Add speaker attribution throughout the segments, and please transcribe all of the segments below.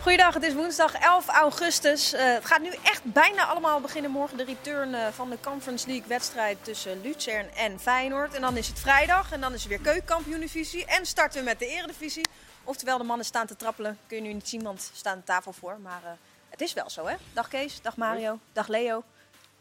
Speaker 1: Goeiedag, het is woensdag 11 augustus. Eh, het gaat nu echt bijna allemaal beginnen morgen. De return eh, van de Conference League wedstrijd tussen Lucern en Feyenoord. En dan is het vrijdag en dan is het weer keukenkampioenenvisie. En starten we met de eredivisie. Oftewel, de mannen staan te trappelen. Kun je nu niet zien, want ze staan aan tafel voor. Maar eh, het is wel zo, hè? Dag Kees, dag Mario, dag Leo. Heel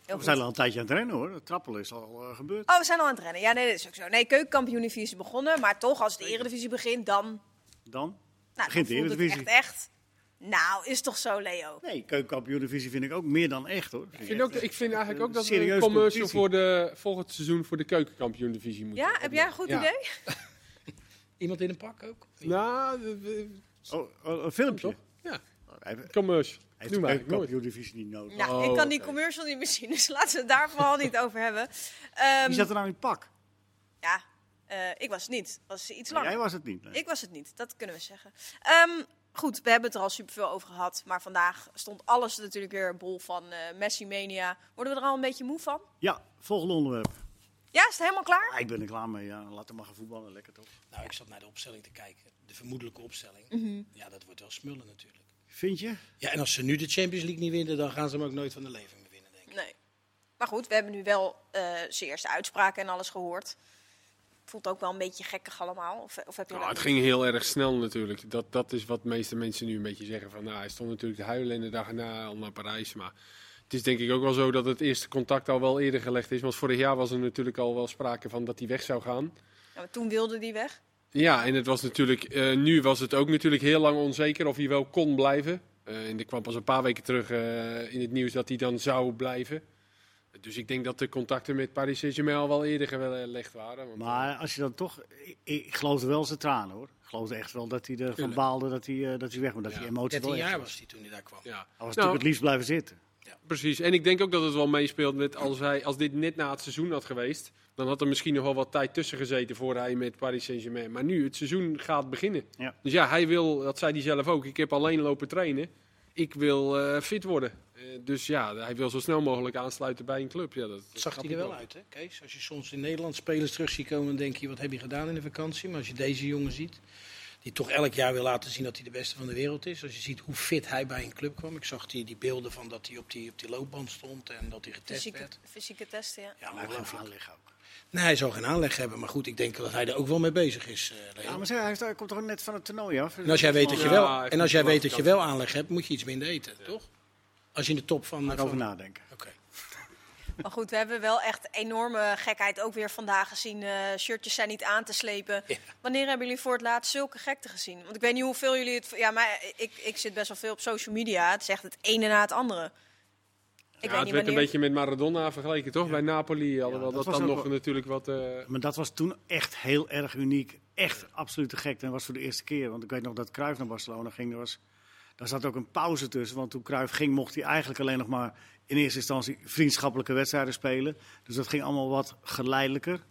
Speaker 2: We
Speaker 1: goed.
Speaker 2: zijn al een tijdje aan het rennen hoor. Het trappelen is al eh, gebeurd.
Speaker 1: Oh, we zijn al aan het rennen. Ja, nee, dat is ook zo. Nee, keukenkampioenenvisie is begonnen. Maar toch, als de eredivisie begint, dan...
Speaker 2: Dan?
Speaker 1: Nou,
Speaker 2: Begint de
Speaker 1: dan voelt het echt,
Speaker 2: Eredivisie.
Speaker 1: echt... Nou, is toch zo, Leo?
Speaker 2: Nee, keukenkampioen-divisie vind ik ook meer dan echt hoor.
Speaker 3: Ik vind, ook, ik vind eigenlijk ook dat we
Speaker 2: Serieuze
Speaker 3: een commercial
Speaker 2: competitie.
Speaker 3: voor de, volgend seizoen voor de keukenkampioen-divisie moeten
Speaker 1: Ja, heb jij een goed
Speaker 3: Ja.
Speaker 1: idee?
Speaker 4: Iemand in een pak ook?
Speaker 3: Nou, de- de-
Speaker 2: Oh, oh, een filmpje.
Speaker 3: Toch? Ja,
Speaker 2: Oh, Hij hij
Speaker 3: commercial.
Speaker 2: heeft
Speaker 3: Doe
Speaker 2: de
Speaker 3: maar, nooit.
Speaker 2: keukenkampioen-divisie niet nodig.
Speaker 1: Nou,
Speaker 3: Oh,
Speaker 1: ik kan die
Speaker 3: oké.
Speaker 1: commercial niet meer zien, dus laten we het daar vooral niet over hebben. Ehm,
Speaker 2: Wie zat er nou in het pak?
Speaker 1: Ja, eh, ik was het niet. Was iets
Speaker 2: Nee,
Speaker 1: langer.
Speaker 2: Jij was het niet. nee.
Speaker 1: Ik was het niet, dat kunnen we zeggen. Ehm, goed, we hebben het er al superveel over gehad. Maar vandaag stond alles natuurlijk weer bol van eh Messi Mania. Worden we er al een beetje moe van?
Speaker 2: Ja, volgende onderwerp.
Speaker 1: Ja, is het helemaal klaar?
Speaker 2: Ah, ik ben er klaar mee. Ja. Laat hem maar gaan voetballen. Lekker toch?
Speaker 4: Nou, ik zat naar de opstelling te kijken. De vermoedelijke opstelling. Ja, dat wordt wel smullen natuurlijk.
Speaker 2: Vind je?
Speaker 4: Ja, en als ze nu de Champions League niet winnen, dan gaan ze hem ook nooit van de leven meer winnen, denk ik.
Speaker 1: Nee. Maar goed, we hebben nu wel eh zijn eerste uitspraken en alles gehoord. Voelt ook wel een beetje gekkig allemaal. Of, of heb je
Speaker 3: Nou,
Speaker 1: dat
Speaker 3: het
Speaker 1: niet?
Speaker 3: ging heel erg snel natuurlijk. Dat, dat is wat de meeste mensen nu een beetje zeggen. Van, nou, hij stond natuurlijk te huilen en de dag erna al naar Parijs. Maar het is denk ik ook wel zo dat het eerste contact al wel eerder gelegd is. Want vorig jaar was er natuurlijk al wel sprake van dat hij weg zou gaan.
Speaker 1: Ja, maar toen wilde die weg.
Speaker 3: Ja, en het was natuurlijk, eh, nu was het ook natuurlijk heel lang onzeker of hij wel kon blijven. Eh, en er kwam pas een paar weken terug eh, in het nieuws dat hij dan zou blijven. Dus ik denk dat de contacten met Paris Saint-Germain al wel eerder gelegd waren. Want,
Speaker 2: Maar als je dan toch... Ik, ik geloofde wel zijn tranen hoor. Ik geloofde echt wel dat hij ervan
Speaker 3: Tuurlijk.
Speaker 2: baalde dat hij, eh, dat hij weg moet. Dat
Speaker 3: Ja,
Speaker 2: hij emotie wel
Speaker 4: 13 jaar
Speaker 2: echt
Speaker 4: was hij toen hij daar kwam.
Speaker 3: eh, ja.
Speaker 2: Hij was
Speaker 3: Nou,
Speaker 2: natuurlijk het liefst blijven zitten.
Speaker 3: Precies, en ik denk ook dat het wel meespeelt met als, hij, als dit net na het seizoen had geweest. Dan had er misschien nog wel wat tijd tussen gezeten voor hij met Paris Saint-Germain. Maar nu, het seizoen gaat beginnen.
Speaker 2: Ja.
Speaker 3: Dus ja, hij wil, dat zei hij zelf ook, ik heb alleen lopen trainen. Ik wil eh, fit worden. Eh, dus ja, hij wil zo snel mogelijk aansluiten bij een club. Ja, dat, dat
Speaker 4: Dat zag
Speaker 3: snap
Speaker 4: hij
Speaker 3: ik
Speaker 4: er wel uit, hè, Kees? Als je soms in Nederland spelers terug ziet komen, dan denk je, wat heb je gedaan in de vakantie? Maar als je deze jongen ziet, die toch elk jaar wil laten zien dat hij de beste van de wereld is. Als je ziet hoe fit hij bij een club kwam. Ik zag die, die beelden van dat hij op die, op die loopband stond en dat hij getest
Speaker 1: Fysieke,
Speaker 4: werd.
Speaker 1: fysieke testen, ja.
Speaker 4: Ja,
Speaker 2: Maar hij heeft
Speaker 4: ongelooflijk.
Speaker 2: aanleg ook.
Speaker 4: Nee, hij zal geen aanleg hebben, maar goed, ik denk dat hij er ook wel mee bezig is. eh, Leo.
Speaker 2: Ja, maar zeg, hij, heeft- hij komt toch net van het toernooi af?
Speaker 4: En Nou, als jij weet dat je
Speaker 3: Ja,
Speaker 4: wel,
Speaker 3: hij
Speaker 4: en als jij
Speaker 3: heeft
Speaker 4: weet
Speaker 3: een
Speaker 4: dat je wel aanleg hebt, moet je iets minder eten, toch? Als je in de top van.
Speaker 2: Ga ik
Speaker 4: van-
Speaker 2: over nadenken.
Speaker 4: Oké.
Speaker 1: Maar goed, we hebben wel echt enorme gekheid ook weer vandaag gezien. Eh, shirtjes zijn niet aan te slepen.
Speaker 4: Ja.
Speaker 1: Wanneer hebben jullie voor het laatst zulke gekte gezien? Want ik weet niet hoeveel jullie het... Ja, maar ik, ik zit best wel veel op social media. Het is echt het ene na het andere. Ik weet niet
Speaker 3: ja, het werd een
Speaker 1: wanneer...
Speaker 3: beetje met Maradona vergeleken, toch? Bij Napoli, alhoewel
Speaker 2: dat
Speaker 3: dat,
Speaker 2: was
Speaker 3: dan
Speaker 2: ook
Speaker 3: nog
Speaker 2: wel-
Speaker 3: natuurlijk wat... eh,
Speaker 2: Maar dat was toen echt heel erg uniek. Echt absoluut te gek. En dat was voor de eerste keer. Want ik weet nog dat Cruijff naar Barcelona ging. Er was, daar zat ook een pauze tussen. Want toen Cruijff ging, mocht hij eigenlijk alleen nog maar in eerste instantie vriendschappelijke wedstrijden spelen. Dus dat ging allemaal wat geleidelijker.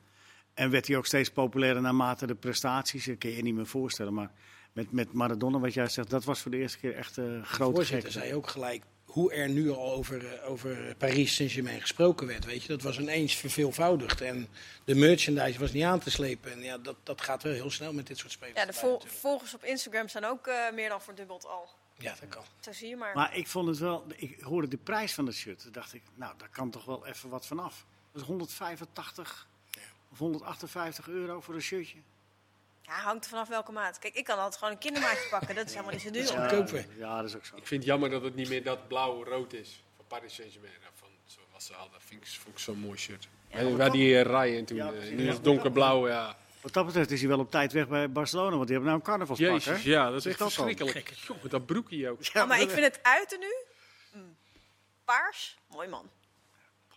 Speaker 2: En werd hij ook steeds populairder naarmate de prestaties. Dat kun je je niet meer voorstellen. Maar met, met Maradona, wat jij zegt, dat was voor de eerste keer echt eh groot
Speaker 4: Voorzitter
Speaker 2: gek.
Speaker 4: zei ook gelijk hoe er nu al over, eh, over Paris Saint-Germain gesproken werd. Weet je, dat was ineens verveelvoudigd. En de merchandise was niet aan te slepen. En ja, dat, dat gaat wel heel snel met dit soort spelers.
Speaker 1: Ja, de
Speaker 4: erbij
Speaker 1: vol-
Speaker 4: natuurlijk.
Speaker 1: volgers op Instagram zijn ook eh, meer dan verdubbeld al.
Speaker 4: ja dat kan.
Speaker 1: Zo zie je maar.
Speaker 2: Maar ik vond het wel, ik hoorde de prijs van dat shirt. Toen dacht ik, nou, daar kan toch wel even wat vanaf. Dat is 185 of 158 euro voor een shirtje.
Speaker 1: Ja, hangt er vanaf welke maat. Kijk, ik kan altijd gewoon een kindermaatje pakken. Dat is helemaal niet zo duur. Oh,
Speaker 4: Ja. Goedkoper.
Speaker 2: ja, dat is ook zo.
Speaker 3: Ik vind het jammer dat het niet meer dat blauw-rood is van Paris Saint-Germain. Ja, Van, zoals ze hadden, vind ik, vond ik zo'n mooi shirt. en waar die eh, rijen toen,
Speaker 2: Ja,
Speaker 3: eh,
Speaker 2: precies.
Speaker 3: nu is het donkerblauw, ja.
Speaker 2: Wat dat betreft is hij wel op tijd weg bij Barcelona, want die hebben nou een carnavalspak, hè?
Speaker 3: Jezus, ja, dat is
Speaker 2: Zeg
Speaker 3: echt
Speaker 2: dat dan.
Speaker 3: verschrikkelijk. Jongen, dat broekje ook.
Speaker 1: Oh, maar ik vind het uiten nu... mm, Paars, mooi man.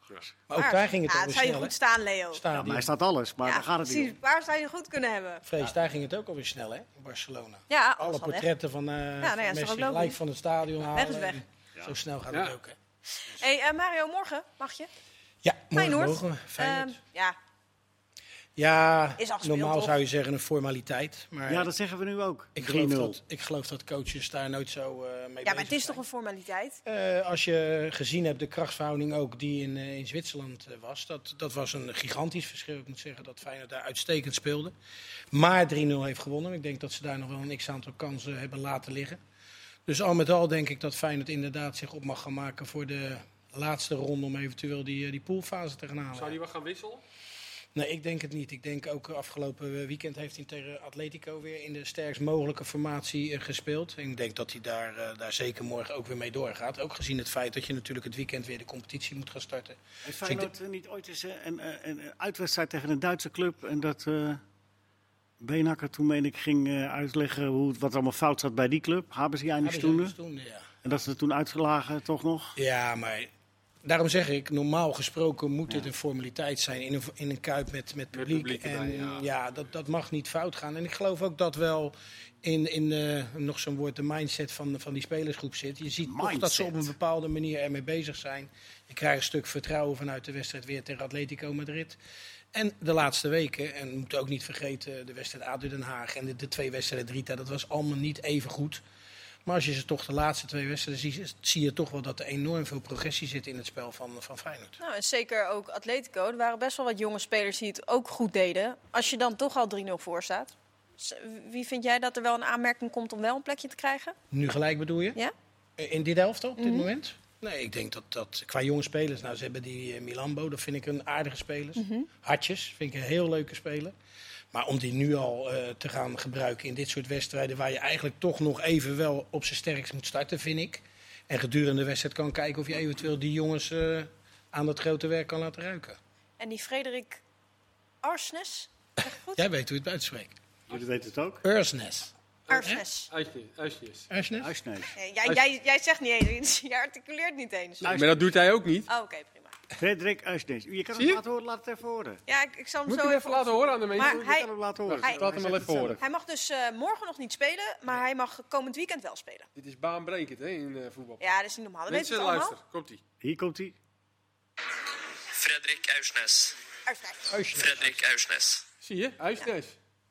Speaker 4: Maar ook
Speaker 1: Paars.
Speaker 4: daar ging het
Speaker 1: ja,
Speaker 4: over
Speaker 1: het zou je
Speaker 4: snel.
Speaker 1: goed
Speaker 4: hè?
Speaker 1: staan, Leo.
Speaker 2: Ja, maar
Speaker 4: Stadion.
Speaker 2: hij staat alles, maar
Speaker 1: ja,
Speaker 2: daar gaat het
Speaker 1: precies.
Speaker 2: niet om.
Speaker 1: Paars zou je goed kunnen hebben.
Speaker 4: Vrees, daar ging het ook alweer snel, hè? In Barcelona.
Speaker 1: Ja,
Speaker 4: Alle
Speaker 1: alles al Ah, weg.
Speaker 4: portretten van, eh
Speaker 1: nou
Speaker 4: van
Speaker 1: ja, is toch
Speaker 4: Messi
Speaker 1: ook logisch.
Speaker 4: gelijk van het stadion halen.
Speaker 1: is weg.
Speaker 4: Zo snel gaat
Speaker 3: Ja.
Speaker 4: het ook, hè?
Speaker 1: Hey, eh, Mario, morgen mag je?
Speaker 4: Ja, mooi
Speaker 1: Feyenoord.
Speaker 4: mogen we. Feyenoord.
Speaker 1: Ehm, ja,
Speaker 4: ja,
Speaker 1: is al gespeeld,
Speaker 4: normaal
Speaker 1: toch?
Speaker 4: zou je zeggen een formaliteit. Maar
Speaker 2: Ja, dat zeggen we nu ook.
Speaker 4: ik, geloof
Speaker 2: 3-0.
Speaker 4: dat, ik geloof dat coaches daar nooit zo eh, mee
Speaker 1: ja maar het is toch een formaliteit?
Speaker 4: Eh, als je gezien hebt de krachtsverhouding ook die in, eh, in Zwitserland eh, was. Dat, dat was een gigantisch verschil. Ik moet zeggen dat Feyenoord daar uitstekend speelde. Maar 3-0 heeft gewonnen. Ik denk dat ze daar nog wel een x-aantal kansen hebben laten liggen. Dus al met al denk ik dat Feyenoord inderdaad zich op mag gaan maken voor de laatste ronde om eventueel die, eh, die poolfase te gaan halen.
Speaker 3: Zou die wel gaan wisselen?
Speaker 4: Nee, ik denk het niet. Ik denk ook eh, afgelopen eh, weekend heeft hij tegen Atletico weer in de sterkst mogelijke formatie eh, gespeeld. En ik denk dat hij daar, eh, daar zeker morgen ook weer mee doorgaat. Ook gezien het feit dat je natuurlijk het weekend weer de competitie moet gaan starten.
Speaker 2: Heeft Feyenoord eh, niet ooit eens eh, een, eh, een, uitwedstrijd tegen een Duitse club? En dat eh Beenhakker toen, meen ik, ging eh, uitleggen hoe, het- wat allemaal fout zat bij die club. Hebben ze
Speaker 4: Ja,
Speaker 2: jij
Speaker 4: dus
Speaker 2: toen?
Speaker 4: dat is toen, ja.
Speaker 2: En dat ze er toen uitgelagen, toch nog?
Speaker 4: Ja, maar daarom zeg ik, normaal gesproken moet dit een formaliteit zijn in een, in een kuip met, met publiek.
Speaker 3: publiek
Speaker 4: en
Speaker 3: erbij, ja.
Speaker 4: ja, dat, dat mag niet fout gaan. En ik geloof ook dat wel in, in eh, nog zo'n woord, de mindset van, van die spelersgroep zit. Je ziet toch dat ze
Speaker 2: Mindset.
Speaker 4: op een bepaalde manier ermee bezig zijn. Je krijgt een stuk vertrouwen vanuit de wedstrijd weer tegen Atletico Madrid. En de laatste weken, en we moeten ook niet vergeten, de wedstrijd ADO Den Haag en de, de twee wedstrijden Drita, dat was allemaal niet even goed. Maar als je ze toch de laatste twee wedstrijden ziet, zie je toch wel dat er enorm veel progressie zit in het spel van, van Feyenoord.
Speaker 1: Nou, en zeker ook Atletico. Er waren best wel wat jonge spelers die het ook goed deden. Als je dan toch al 3-0 voor staat. S- Wie vind jij dat er wel een aanmerking komt om wel een plekje te krijgen?
Speaker 4: Nu gelijk bedoel je? Eh,
Speaker 1: Ja?
Speaker 4: In dit elftal op dit moment? Nee, ik denk dat dat qua jonge spelers. Nou, ze hebben die eh, Milambo, dat vind ik een aardige speler. Hartjes, vind ik een heel leuke speler. Maar om die nu al eh, te gaan gebruiken in dit soort wedstrijden, waar je eigenlijk toch nog even wel op zijn sterkst moet starten, vind ik. En gedurende de wedstrijd kan kijken of je eventueel die jongens eh, aan dat grote werk kan laten ruiken.
Speaker 1: En die Frederik Arsnes? Zeg ik goed?
Speaker 4: Jij weet hoe je het uitspreekt.
Speaker 2: Jullie weten het ook.
Speaker 4: Ursnes.
Speaker 1: Arsnes.
Speaker 3: Uitjes.
Speaker 4: Ursnes?
Speaker 2: Uitsneed.
Speaker 1: Nee, jij, jij, jij zegt niet eens iets. Jij articuleert niet eens.
Speaker 2: Nou,
Speaker 1: Oh,
Speaker 3: Maar dat doet hij ook niet.
Speaker 1: oké, prima.
Speaker 2: Frederik Uitsneed. Je kan
Speaker 3: Zie
Speaker 2: hem
Speaker 3: je?
Speaker 2: laten horen, laat het even horen.
Speaker 1: Ja, ik, ik zal hem
Speaker 3: Moet
Speaker 1: zo
Speaker 3: ik hem even laten horen aan de
Speaker 1: Maar
Speaker 3: mensen?
Speaker 2: Je
Speaker 1: hij-
Speaker 2: kan hem laten
Speaker 3: Nou,
Speaker 2: horen.
Speaker 1: hij-
Speaker 3: Laat hem wel
Speaker 2: zegt
Speaker 3: even
Speaker 2: het
Speaker 3: horen.
Speaker 1: Hij mag dus eh, morgen nog niet spelen, maar hij mag komend weekend wel spelen.
Speaker 3: Dit is baanbrekend hè, in eh, voetbal.
Speaker 1: Ja, dat is niet normaal. Dat weten
Speaker 3: Mensen,
Speaker 1: we allemaal.
Speaker 3: luister. Komt-ie.
Speaker 2: zelf. Hier komt hij.
Speaker 5: Frederik Aursnes.
Speaker 1: Uitspraak.
Speaker 5: Frederik Aursnes.
Speaker 3: Zie je? Huisnes.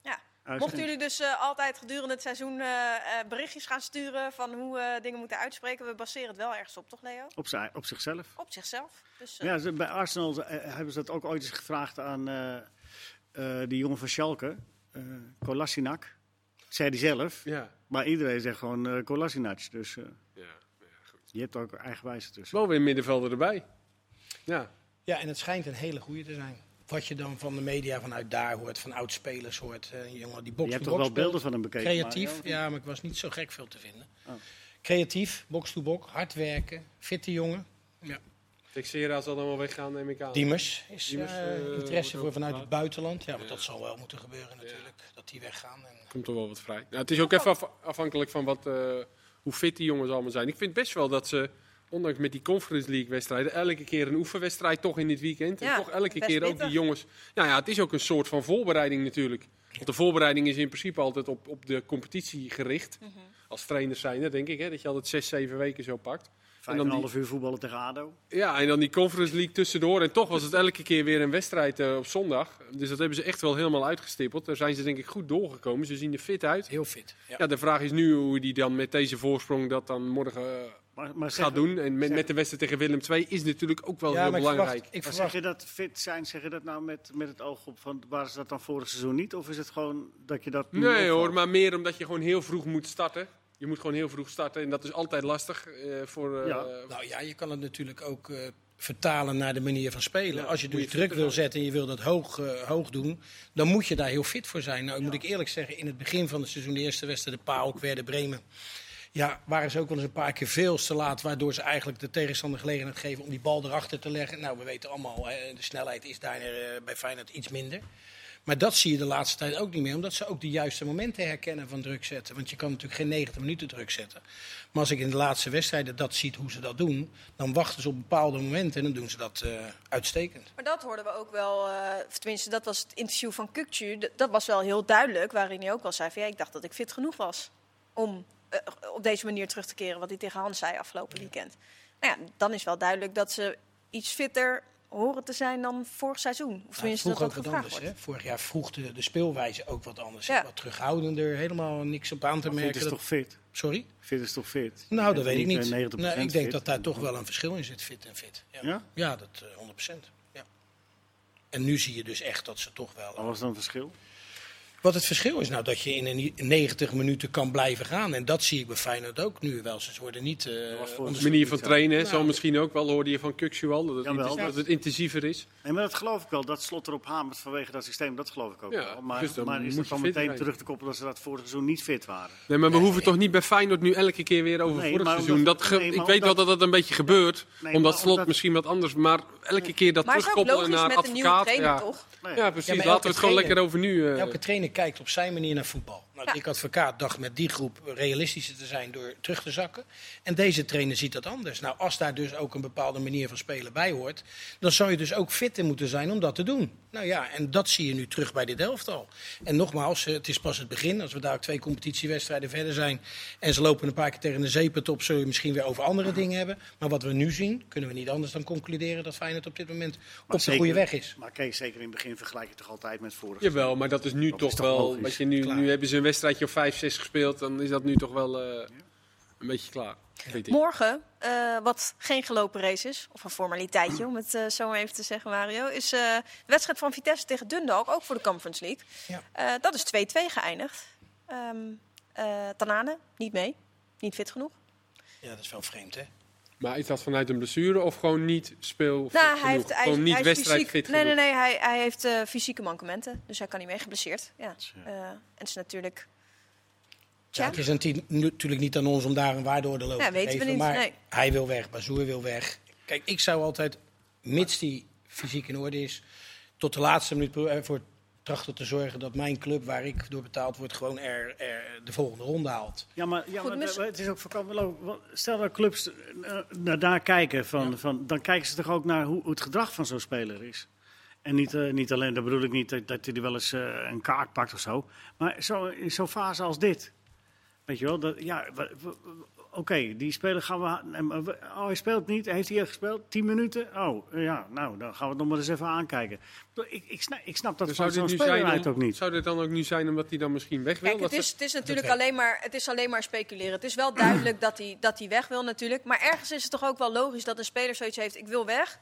Speaker 1: Ja.
Speaker 2: Uitspraak.
Speaker 1: Mochten jullie dus eh, altijd gedurende het seizoen eh, eh, berichtjes gaan sturen van hoe eh, dingen moeten uitspreken, we baseren het wel ergens op, toch Leo?
Speaker 2: Op, zijn, op zichzelf.
Speaker 1: Op zichzelf. Dus, eh,
Speaker 2: Ja, ze- bij Arsenal eh, hebben ze dat ook ooit eens gevraagd aan eh, eh, die jongen van Schalke, eh Kolasinac. Dat zei hij zelf,
Speaker 3: Ja.
Speaker 2: maar iedereen zegt gewoon eh Kolasinac. Dus eh,
Speaker 3: ja. goed.
Speaker 2: je hebt er ook eigenwijze tussen.
Speaker 3: Wel weer een middenvelder erbij. Ja.
Speaker 4: Ja, en het schijnt een hele goede te zijn. Wat je dan van de media vanuit daar hoort, van oud-spelers hoort. eh, jongen, die box
Speaker 2: Je hebt
Speaker 4: to
Speaker 2: toch wel
Speaker 4: box speelt.
Speaker 2: beelden van hem bekeken? eh,
Speaker 4: Creatief,
Speaker 2: Mario? Oh.
Speaker 4: ja, maar ik was niet zo gek veel te vinden. Creatief, box-to-box, hard werken, fitte jongen. Ja.
Speaker 3: Texera zal dan wel weggaan, neem ik aan.
Speaker 4: Diemers is
Speaker 3: Diemers,
Speaker 4: eh,
Speaker 3: eh, wordt
Speaker 4: interesse
Speaker 3: ook
Speaker 4: voor vanuit het
Speaker 3: gevraagd.
Speaker 4: buitenland. Ja, want dat zal wel moeten gebeuren natuurlijk, dat die weggaan. En,
Speaker 3: Komt er wel wat vrij. Nou, het is ook even
Speaker 1: Oh.
Speaker 3: af- afhankelijk van wat, eh, hoe fit die jongens allemaal zijn. Ik vind best wel dat ze, ondanks met die Conference League wedstrijden, elke keer een oefenwedstrijd toch in dit weekend.
Speaker 1: Ja,
Speaker 3: en toch elke
Speaker 1: best
Speaker 3: keer ook
Speaker 1: pittig.
Speaker 3: die jongens. Nou ja, het is ook een soort van voorbereiding natuurlijk. Want de voorbereiding is in principe altijd op, op de competitie gericht.
Speaker 1: Mhm.
Speaker 3: Als trainers zijn dat denk ik, hè, dat je altijd zes, zeven weken zo pakt.
Speaker 2: Vijf en een half uur voetballen tegen ADO.
Speaker 3: Ja, en dan die Conference League tussendoor. En toch was het elke keer weer een wedstrijd eh, op zondag. Dus dat hebben ze echt wel helemaal uitgestippeld. Daar zijn ze denk ik goed doorgekomen. Ze zien er fit uit.
Speaker 4: heel fit. Ja.
Speaker 3: Ja, de vraag is nu hoe die dan met deze voorsprong dat dan morgen eh,
Speaker 2: Maar, maar zeg,
Speaker 3: gaat doen. En met, met de wedstrijd tegen Willem II is natuurlijk ook wel
Speaker 4: Ja,
Speaker 3: heel
Speaker 4: maar ik
Speaker 3: belangrijk.
Speaker 4: verwacht, ik
Speaker 2: maar zeg
Speaker 4: verwacht
Speaker 2: je dat fit zijn, zeg je dat nou met, met het oog op van waren ze dat dan vorig seizoen niet? Of is het gewoon dat je dat. nu
Speaker 3: Nee
Speaker 2: opvalt?
Speaker 3: hoor, maar meer omdat je gewoon heel vroeg moet starten. Je moet gewoon heel vroeg starten en dat is altijd lastig eh, voor... eh,
Speaker 2: Ja.
Speaker 4: Nou ja, je kan het natuurlijk ook eh, vertalen naar de manier van spelen.
Speaker 3: Ja,
Speaker 4: Als je
Speaker 3: moet
Speaker 4: dus
Speaker 3: je
Speaker 4: druk
Speaker 3: fitter
Speaker 4: wil
Speaker 3: zijn.
Speaker 4: zetten en je wil dat hoog, eh, hoog doen, dan moet je daar heel fit voor zijn. Nou, moet ik eerlijk zeggen, in het begin van het seizoen, de eerste wedstrijd, de Paok, Werder Bremen. Ja, waren ze ook wel eens een paar keer veel te laat, waardoor ze eigenlijk de tegenstander gelegenheid geven om die bal erachter te leggen. Nou, we weten allemaal, hè, de snelheid is daar eh, bij Feyenoord iets minder. Maar dat zie je de laatste tijd ook niet meer, omdat ze ook de juiste momenten herkennen van druk zetten. Want je kan natuurlijk geen 90 minuten druk zetten. Maar als ik in de laatste wedstrijden dat ziet hoe ze dat doen, dan wachten ze op bepaalde momenten en dan doen ze dat eh, uitstekend.
Speaker 1: Maar dat hoorden we ook wel, eh, of tenminste, dat was het interview van Kukcu. D- dat was wel heel duidelijk, waarin hij ook wel zei van ja, ik dacht dat ik fit genoeg was om eh, op deze manier terug te keren, wat hij tegen Hans zei afgelopen weekend. Nou ja, dan is wel duidelijk dat ze iets fitter horen te zijn dan vorig seizoen. Of tenminste,
Speaker 4: vroeg
Speaker 1: dat
Speaker 4: ook
Speaker 1: dat
Speaker 4: wat
Speaker 1: gevraagd
Speaker 4: anders.
Speaker 1: wordt.
Speaker 4: Hè? Vorig jaar vroeg de, de speelwijze ook wat anders.
Speaker 1: Ja.
Speaker 4: Wat terughoudender, helemaal niks op aan te
Speaker 2: Maar Fit
Speaker 4: merken.
Speaker 2: is
Speaker 4: Dat-
Speaker 2: toch fit?
Speaker 4: Sorry?
Speaker 2: Fit is toch fit? Je
Speaker 4: Nou, dat
Speaker 2: bent
Speaker 4: weet ik niet.
Speaker 2: eh, 90%
Speaker 4: Nou, ik denk
Speaker 2: fit.
Speaker 4: dat daar toch wel een verschil in zit, fit en fit. Ja,
Speaker 2: Ja?
Speaker 4: Ja, dat eh, 100 Ja. En nu zie je dus echt dat ze toch wel...
Speaker 2: Oh. Wat was dan het verschil?
Speaker 4: Wat het verschil is nou dat je in een 90 minuten kan blijven gaan. En dat zie ik bij Feyenoord ook nu wel. Ze worden niet... eh,
Speaker 2: was voor-
Speaker 4: onder-
Speaker 3: manier van trainen hè,
Speaker 4: Nou.
Speaker 3: zal misschien ook wel, hoorde je van Kuksu al, dat het,
Speaker 2: Jawel,
Speaker 3: intes-
Speaker 2: dat-
Speaker 3: dat het intensiever is.
Speaker 2: Nee, maar dat geloof ik wel. Dat slot erop hamert vanwege dat systeem, dat geloof ik ook
Speaker 3: Ja,
Speaker 2: wel. Maar,
Speaker 3: dus dan
Speaker 2: maar is
Speaker 3: moet
Speaker 2: dat
Speaker 3: je
Speaker 2: dan
Speaker 3: fit
Speaker 2: meteen
Speaker 3: zijn.
Speaker 2: terug te koppelen dat ze dat vorig seizoen niet fit waren?
Speaker 3: Nee, maar we hoeven toch niet bij Feyenoord nu elke keer weer over
Speaker 2: Nee,
Speaker 3: vorig
Speaker 2: maar
Speaker 3: seizoen.
Speaker 2: omdat-
Speaker 3: dat ge-
Speaker 2: nee, maar
Speaker 3: ik weet wel
Speaker 2: omdat-
Speaker 3: dat dat een beetje gebeurt,
Speaker 2: maar
Speaker 3: omdat slot
Speaker 2: omdat-
Speaker 3: misschien wat anders, maar elke keer dat
Speaker 1: Maar het is ook
Speaker 3: terugkoppelen
Speaker 1: logisch
Speaker 3: naar
Speaker 1: met een nieuwe
Speaker 3: advocaat.
Speaker 1: trainer,
Speaker 3: ja.
Speaker 1: toch?
Speaker 2: Nee.
Speaker 3: ja, precies.
Speaker 4: Ja, maar
Speaker 3: Laten we
Speaker 4: elke
Speaker 3: het gewoon
Speaker 4: trainer-
Speaker 3: lekker over nu. eh
Speaker 4: Elke trainer kijkt op zijn manier naar voetbal. Nou,
Speaker 1: Ja.
Speaker 4: Dick Advocaat dacht met die groep realistischer te zijn door terug te zakken. En deze trainer ziet dat anders. Nou, als daar dus ook een bepaalde manier van spelen bij hoort, dan zou je dus ook fit in moeten zijn om dat te doen. Nou ja, en dat zie je nu terug bij dit elftal. En nogmaals, eh, het is pas het begin. Als we daar ook twee competitiewedstrijden verder zijn en ze lopen een paar keer tegen de zeepet op, zul je misschien weer over andere dingen hebben. Maar wat we nu zien, kunnen we niet anders dan concluderen dat Feyenoord op dit moment op de
Speaker 2: zeker-
Speaker 4: goede weg is.
Speaker 2: Maar Kees, zeker in het begin vergelijk je toch altijd met vorig
Speaker 3: Jawel, maar dat is nu
Speaker 2: Dat
Speaker 3: toch,
Speaker 2: is toch
Speaker 3: wel.
Speaker 2: logisch.
Speaker 3: Weet je, nu,
Speaker 4: Klaar.
Speaker 3: nu hebben ze een wedstrijdje of 5, 6 gespeeld. Dan is dat nu toch wel eh, een beetje klaar. Weet ik.
Speaker 1: Morgen, eh, wat geen gelopen race is, of een formaliteitje om het eh, zo maar even te zeggen, Mario, is eh, de wedstrijd van Vitesse tegen Dundalk, ook voor de Conference League.
Speaker 4: Ja.
Speaker 1: Eh, dat is 2-2 geëindigd. Ehm eh, Tanane, niet mee, niet fit genoeg.
Speaker 4: Ja, dat is wel vreemd, hè?
Speaker 3: Maar is dat vanuit een blessure of gewoon niet speel?
Speaker 1: Nou, hij heeft, hij,
Speaker 3: gewoon niet
Speaker 1: hij is
Speaker 3: wedstrijd
Speaker 1: fysiek,
Speaker 3: fit
Speaker 1: Nee, nee,
Speaker 3: genoeg?
Speaker 1: nee, hij, hij heeft eh, fysieke mankementen, dus hij kan niet mee, geblesseerd. Ja. Eh, en het is natuurlijk...
Speaker 4: Ja,
Speaker 1: Tja.
Speaker 4: het is natuurlijk- natuurlijk niet aan ons om daar een waardeoordeel over
Speaker 1: Ja,
Speaker 4: te
Speaker 1: weten we
Speaker 4: geven.
Speaker 1: niet,
Speaker 4: maar
Speaker 1: nee.
Speaker 4: hij wil weg, Bazoer wil weg. Kijk, ik zou altijd, mits die fysiek in orde is, tot de laatste minuut pro- ervoor trachten te zorgen dat mijn club, waar ik door betaald word, gewoon er, er de volgende ronde haalt.
Speaker 2: Ja, maar, ja,
Speaker 1: Goed,
Speaker 2: maar
Speaker 1: mis-
Speaker 2: da- het is ook voorkomen. Stel dat clubs eh, naar daar kijken, van, van, dan kijken ze toch ook naar hoe het gedrag van zo'n speler is. En niet, eh, niet alleen, daar bedoel ik niet dat, dat hij er wel eens eh, een kaart pakt of zo. Maar zo, in zo'n fase als dit. Weet je wel, dat, ja, wa- wa- wa- oké, die speler gaan we... ha- nee, maar we- Oh, hij speelt niet. Heeft hij echt gespeeld? Tien minuten? Oh, eh, ja, nou, dan gaan we het nog maar eens even aankijken. Ik bedoel, Ik, ik, snap, ik snap dat
Speaker 3: Dus
Speaker 2: van
Speaker 3: Zou dit,
Speaker 2: zo'n
Speaker 3: nu
Speaker 2: speler
Speaker 3: zijn
Speaker 2: uit
Speaker 3: om-
Speaker 2: ook niet.
Speaker 3: zou dit dan ook nu zijn omdat hij dan misschien weg wil?
Speaker 1: Kijk, het
Speaker 3: Dat
Speaker 1: is,
Speaker 3: ze-
Speaker 1: het is natuurlijk
Speaker 4: werkt.
Speaker 1: alleen maar, het is alleen maar speculeren. Het is wel duidelijk dat hij, dat hij weg wil natuurlijk. Maar ergens is het toch ook wel logisch dat een speler zoiets heeft... ik wil weg,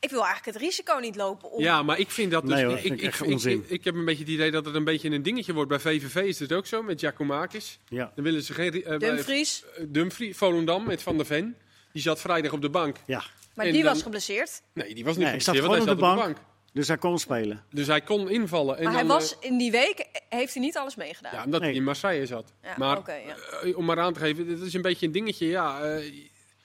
Speaker 1: ik wil eigenlijk het risico niet lopen om...
Speaker 3: Ja, maar ik vind dat dus
Speaker 2: Nee hoor,
Speaker 3: niet.
Speaker 2: vind
Speaker 3: ik,
Speaker 2: ik echt
Speaker 3: ik- ik-
Speaker 2: onzin.
Speaker 3: ik heb een beetje het idee dat het een beetje een dingetje wordt. Bij VVV is het ook zo, met Giacomakis.
Speaker 2: Ja,
Speaker 3: Dan willen ze geen... ri- eh, bij-
Speaker 1: Dumfries,
Speaker 3: eh, Dumfries, Volendam met Van der Ven. Die zat vrijdag op de bank.
Speaker 2: ja.
Speaker 1: maar
Speaker 3: en
Speaker 1: die
Speaker 3: dan-
Speaker 1: was geblesseerd.
Speaker 3: Nee, die was niet
Speaker 2: Nee, hij
Speaker 3: nee,
Speaker 2: zat
Speaker 3: want hij
Speaker 2: gewoon
Speaker 3: zat
Speaker 2: op de bank. Dus hij kon spelen.
Speaker 3: Dus hij kon invallen. En
Speaker 1: Maar hij
Speaker 3: dan, eh,
Speaker 1: was in die week, eh, heeft hij niet alles meegedaan.
Speaker 3: Ja, omdat hij
Speaker 2: Nee.
Speaker 3: in Marseille zat.
Speaker 1: Ja,
Speaker 3: maar
Speaker 1: oké, ja.
Speaker 3: eh, om maar aan te geven, dit is een beetje een dingetje. Ja, eh,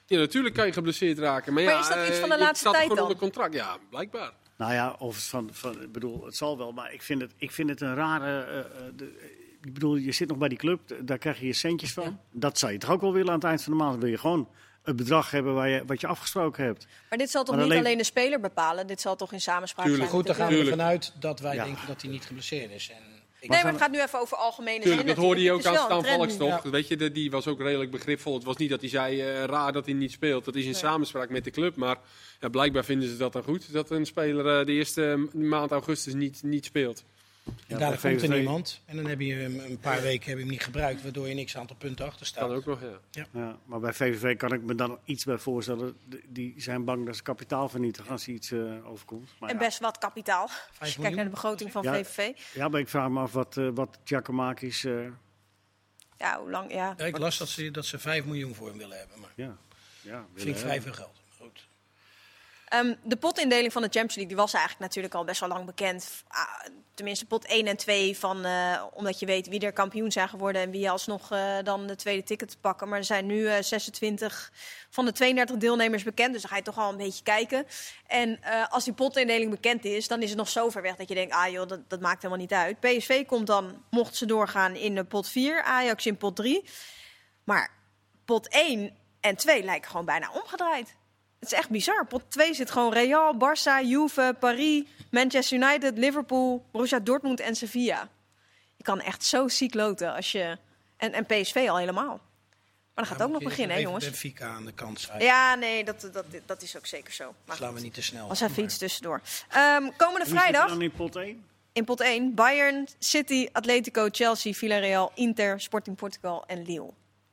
Speaker 3: ja, natuurlijk kan je geblesseerd raken. Maar,
Speaker 1: Maar
Speaker 3: ja,
Speaker 1: is dat iets
Speaker 3: eh,
Speaker 1: van de
Speaker 3: je
Speaker 1: laatste
Speaker 3: staat
Speaker 1: tijd
Speaker 3: gewoon
Speaker 1: dan?
Speaker 3: onder contract. Ja, blijkbaar.
Speaker 2: Nou ja, of het van, van, ik bedoel, het zal wel, maar ik vind het, ik vind het een rare. eh, eh, de- ik bedoel, je zit nog bij die club, d- daar krijg je je centjes van. Dat zou je toch ook wel willen aan het eind van de maand. Wil je gewoon het bedrag hebben waar je, wat je afgesproken hebt.
Speaker 1: Maar dit zal toch
Speaker 2: Maar
Speaker 1: niet
Speaker 2: alleen-
Speaker 1: alleen de speler bepalen? Dit zal toch in samenspraak
Speaker 3: Tuurlijk.
Speaker 1: zijn?
Speaker 4: Goed,
Speaker 1: met
Speaker 4: dan
Speaker 1: de
Speaker 4: gaan
Speaker 1: club?
Speaker 4: we
Speaker 3: Tuurlijk.
Speaker 4: vanuit dat wij
Speaker 2: Ja.
Speaker 4: denken dat hij niet geblesseerd is. En ik
Speaker 1: Nee, maar het gaat nu even over algemene
Speaker 3: Tuurlijk,
Speaker 1: zin
Speaker 3: dat hoorde je ook aan
Speaker 1: natuurlijk. Het
Speaker 3: Stan
Speaker 1: is wel een
Speaker 3: Valks
Speaker 1: trend
Speaker 3: toch. Weet je, de- die was ook redelijk begripvol. Het was niet dat hij zei, eh, raar dat hij niet speelt. Dat is in samenspraak met de club. Maar ja, blijkbaar vinden ze dat dan goed. Dat een speler eh, de eerste maand augustus niet, niet speelt.
Speaker 4: en daar
Speaker 2: bij
Speaker 4: komt er
Speaker 2: VVV.
Speaker 4: niemand. En dan heb je hem een paar weken heb je hem niet gebruikt, waardoor je niks aantal punten achter staat.
Speaker 3: Kan ook nog, ja.
Speaker 2: Ja, maar bij VVV kan ik me dan iets bij voorstellen. D- Die zijn bang dat ze kapitaal vernietigen als iets eh, overkomt. Maar
Speaker 1: nu. En
Speaker 2: ja.
Speaker 1: best wat kapitaal. Als je
Speaker 4: miljoen?
Speaker 1: kijkt naar de begroting van
Speaker 2: Ja.
Speaker 1: VVV.
Speaker 2: ja, maar ik vraag me af wat, eh wat Giacomakis. eh,
Speaker 1: Ja, hoe lang? Ja.
Speaker 4: Ja, ik las dat ze, dat ze 5 miljoen voor hem willen hebben. Maar
Speaker 2: ja, ja,
Speaker 4: vind ik vrij veel geld. Maar goed.
Speaker 1: Ehm, de potindeling van de Champions League die was eigenlijk natuurlijk al best wel lang bekend. F- ah, tenminste, pot 1 en 2, van, eh, omdat je weet wie er kampioen zijn geworden en wie alsnog eh, dan de tweede ticket te pakken. Maar er zijn nu eh, 26 van de 32 deelnemers bekend, dus dan ga je toch al een beetje kijken. En eh, als die potindeling bekend is, dan is het nog zo ver weg dat je denkt, ah joh, dat, dat maakt helemaal niet uit. PSV komt dan, mocht ze doorgaan, in de pot 4, Ajax in pot 3. Maar pot 1 en 2 lijken gewoon bijna omgedraaid. Het is echt bizar. Pot 2 zit gewoon Real, Barça, Juve, Paris, Manchester United, Liverpool, Borussia Dortmund en Sevilla. Je kan echt zo ziek loten als je... En, en PSV al helemaal. Maar dat gaat
Speaker 4: Ja,
Speaker 1: ook nog
Speaker 4: moet je
Speaker 1: beginnen, hè,
Speaker 4: even
Speaker 1: jongens?
Speaker 4: Benfica aan de kant schrijven.
Speaker 1: Ja, nee, dat, dat, dat is ook zeker zo. Maar
Speaker 4: Slaan we niet te snel.
Speaker 1: was even iets tussendoor. Ehm, komende vrijdag
Speaker 2: Vrijdag. Dan in pot 1?
Speaker 1: in pot 1 Bayern, City, Atletico, Chelsea, Villarreal, Inter, Sporting Portugal en Lille.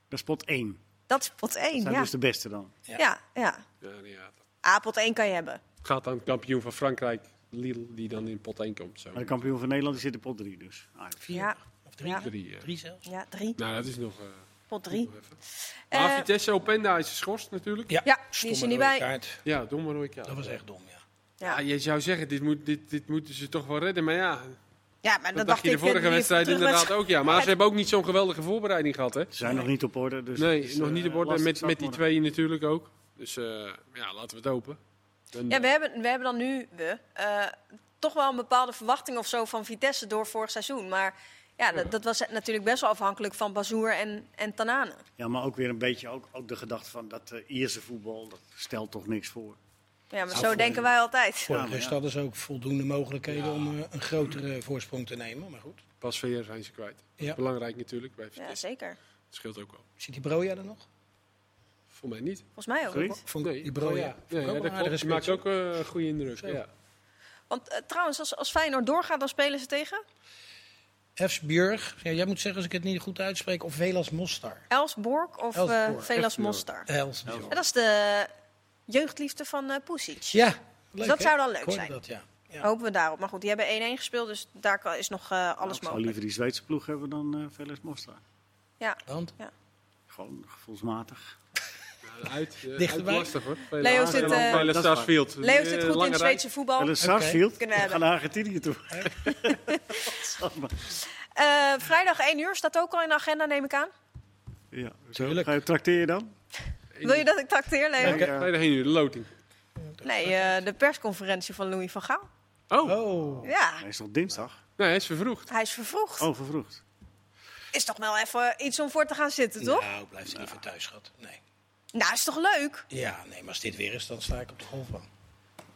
Speaker 2: Dat is pot 1.
Speaker 1: Dat is pot 1,
Speaker 2: Zijn
Speaker 1: ja.
Speaker 2: dus de beste dan.
Speaker 1: Ja, ja.
Speaker 3: ja, ja.
Speaker 1: Ah, pot 1 kan je hebben.
Speaker 3: Het gaat aan het kampioen van Frankrijk. Lidl die dan in pot 1 komt. Zo.
Speaker 2: Maar de kampioen van Nederland die zit in pot 3 dus. Ajax.
Speaker 4: Vier
Speaker 1: Ja,
Speaker 4: of drie?
Speaker 1: Ja.
Speaker 3: Drie, eh.
Speaker 4: Drie zelfs.
Speaker 1: ja, drie.
Speaker 3: Nou, dat is nog... eh
Speaker 1: Pot drie.
Speaker 3: nog even.
Speaker 1: Eh,
Speaker 3: maar Vitesse Openda is geschorst natuurlijk.
Speaker 1: Ja, die is er
Speaker 4: stomme
Speaker 1: niet
Speaker 4: rode
Speaker 1: bij.
Speaker 4: kaart.
Speaker 3: Ja, domme rode kaart.
Speaker 4: Dat was echt dom, ja.
Speaker 1: Ja.
Speaker 3: Ja, je zou zeggen, dit, moet, dit, dit moeten ze toch wel redden. Maar ja, dat,
Speaker 1: Ja, maar dat
Speaker 3: dacht
Speaker 1: dacht
Speaker 3: je
Speaker 1: ik
Speaker 3: de vorige
Speaker 1: eh,
Speaker 3: wedstrijd
Speaker 1: terug met-
Speaker 3: inderdaad ook. Ja, maar ze hebben ook niet zo'n geweldige voorbereiding gehad, hè?
Speaker 2: Ze zijn nog niet op orde. Dus
Speaker 3: nee,
Speaker 2: het is,
Speaker 3: nog
Speaker 2: eh,
Speaker 3: niet op orde.
Speaker 2: lastig
Speaker 3: Met, met die
Speaker 2: startmodel.
Speaker 3: twee natuurlijk ook. Dus eh, ja, laten we het hopen. En,
Speaker 1: Ja, we hebben, we hebben dan nu we, eh, toch wel een bepaalde verwachting of zo van Vitesse door vorig seizoen. Maar ja, dat, dat was natuurlijk best wel afhankelijk van Bazoer en, en Tanane.
Speaker 2: Ja, maar ook weer een beetje ook, ook de gedachte van dat eh, Ierse voetbal, dat stelt toch niks voor.
Speaker 1: Ja, maar
Speaker 2: Nou,
Speaker 1: zo
Speaker 2: voor-
Speaker 1: denken wij altijd.
Speaker 4: Voor
Speaker 2: Ja,
Speaker 4: de
Speaker 3: Nou,
Speaker 2: maar
Speaker 4: rest
Speaker 2: ja.
Speaker 4: hadden ze ook voldoende mogelijkheden om eh, een grotere voorsprong te nemen. Maar goed,
Speaker 3: eh, Pas VR zijn ze kwijt. Dat is
Speaker 4: Ja.
Speaker 3: belangrijk natuurlijk bij
Speaker 1: Ja,
Speaker 3: Vitesse.
Speaker 1: zeker.
Speaker 3: dat scheelt ook wel.
Speaker 4: zit die Broja er nog?
Speaker 3: Voor mij niet.
Speaker 1: Volgens mij ook.
Speaker 2: Sorry?
Speaker 4: Vond
Speaker 3: Nee.
Speaker 4: die Broja.
Speaker 3: Oh, ja. Ja, ja, dat klopt. Die maakt ook eh, een goede indruk.
Speaker 4: Zo.
Speaker 3: Ja.
Speaker 1: Want eh, trouwens, als, als Feyenoord doorgaat, dan spelen ze tegen
Speaker 4: Efsbjörg. Ja, jij moet zeggen als ik het niet goed uitspreek. Of Velas Mostar.
Speaker 1: Elsborg of eh
Speaker 4: Elfsborg,
Speaker 1: Velas
Speaker 3: Elfsborg.
Speaker 1: Mostar.
Speaker 4: Elsbjörg.
Speaker 1: En dat is de jeugdliefde van eh Pusic.
Speaker 4: Ja, leuk,
Speaker 1: dat
Speaker 4: hè?
Speaker 1: zou dan leuk
Speaker 4: Ik hoorde
Speaker 1: zijn.
Speaker 4: Dat, ja. Ja.
Speaker 1: Hopen we daarop. Maar goed, die hebben 1-1 gespeeld, dus daar kan- is nog eh,
Speaker 2: Nou,
Speaker 1: alles
Speaker 2: ik zou
Speaker 1: mogelijk.
Speaker 2: liever die Zweedse ploeg hebben dan eh Veles Mostra.
Speaker 1: Ja.
Speaker 4: Want
Speaker 2: Gewoon gevoelsmatig.
Speaker 3: Ja, Uit, eh, uit
Speaker 4: Dichterbij.
Speaker 3: lastig hoor. Bij
Speaker 1: Leo
Speaker 3: Laas-
Speaker 1: zit, eh,
Speaker 3: en bij Leo
Speaker 2: Dat is
Speaker 3: Sarsfield.
Speaker 1: Leeft
Speaker 3: Eh,
Speaker 1: het goed in
Speaker 3: lange
Speaker 1: het
Speaker 3: rij.
Speaker 1: Zweedse voetbal?
Speaker 2: Veles Sarsfield, we
Speaker 1: Oh, Kunnen we
Speaker 2: gaan naar Argentinië toe.
Speaker 1: Eh, vrijdag 1 uur staat ook al in de agenda, neem ik aan.
Speaker 2: Ja,
Speaker 4: Tuurlijk.
Speaker 2: Ga je tracteer je dan?
Speaker 1: Wil je dat ik trakteer, Leo?
Speaker 2: Oké.
Speaker 3: Bij de heen nu, de loting.
Speaker 1: Nee, eh, de persconferentie van Louis van Gaal.
Speaker 3: Oh,
Speaker 4: Oh,
Speaker 1: Ja,
Speaker 2: Hij is al dinsdag.
Speaker 3: nee, hij is vervroegd.
Speaker 1: hij is vervroegd.
Speaker 2: Oh, vervroegd.
Speaker 1: Is toch wel even iets om voor te gaan zitten, toch?
Speaker 4: nou blijf ze liever thuis, schat. Nee.
Speaker 1: Nou, is toch leuk?
Speaker 4: Ja, nee, maar als dit weer is, dan sta ik op de golfbaan.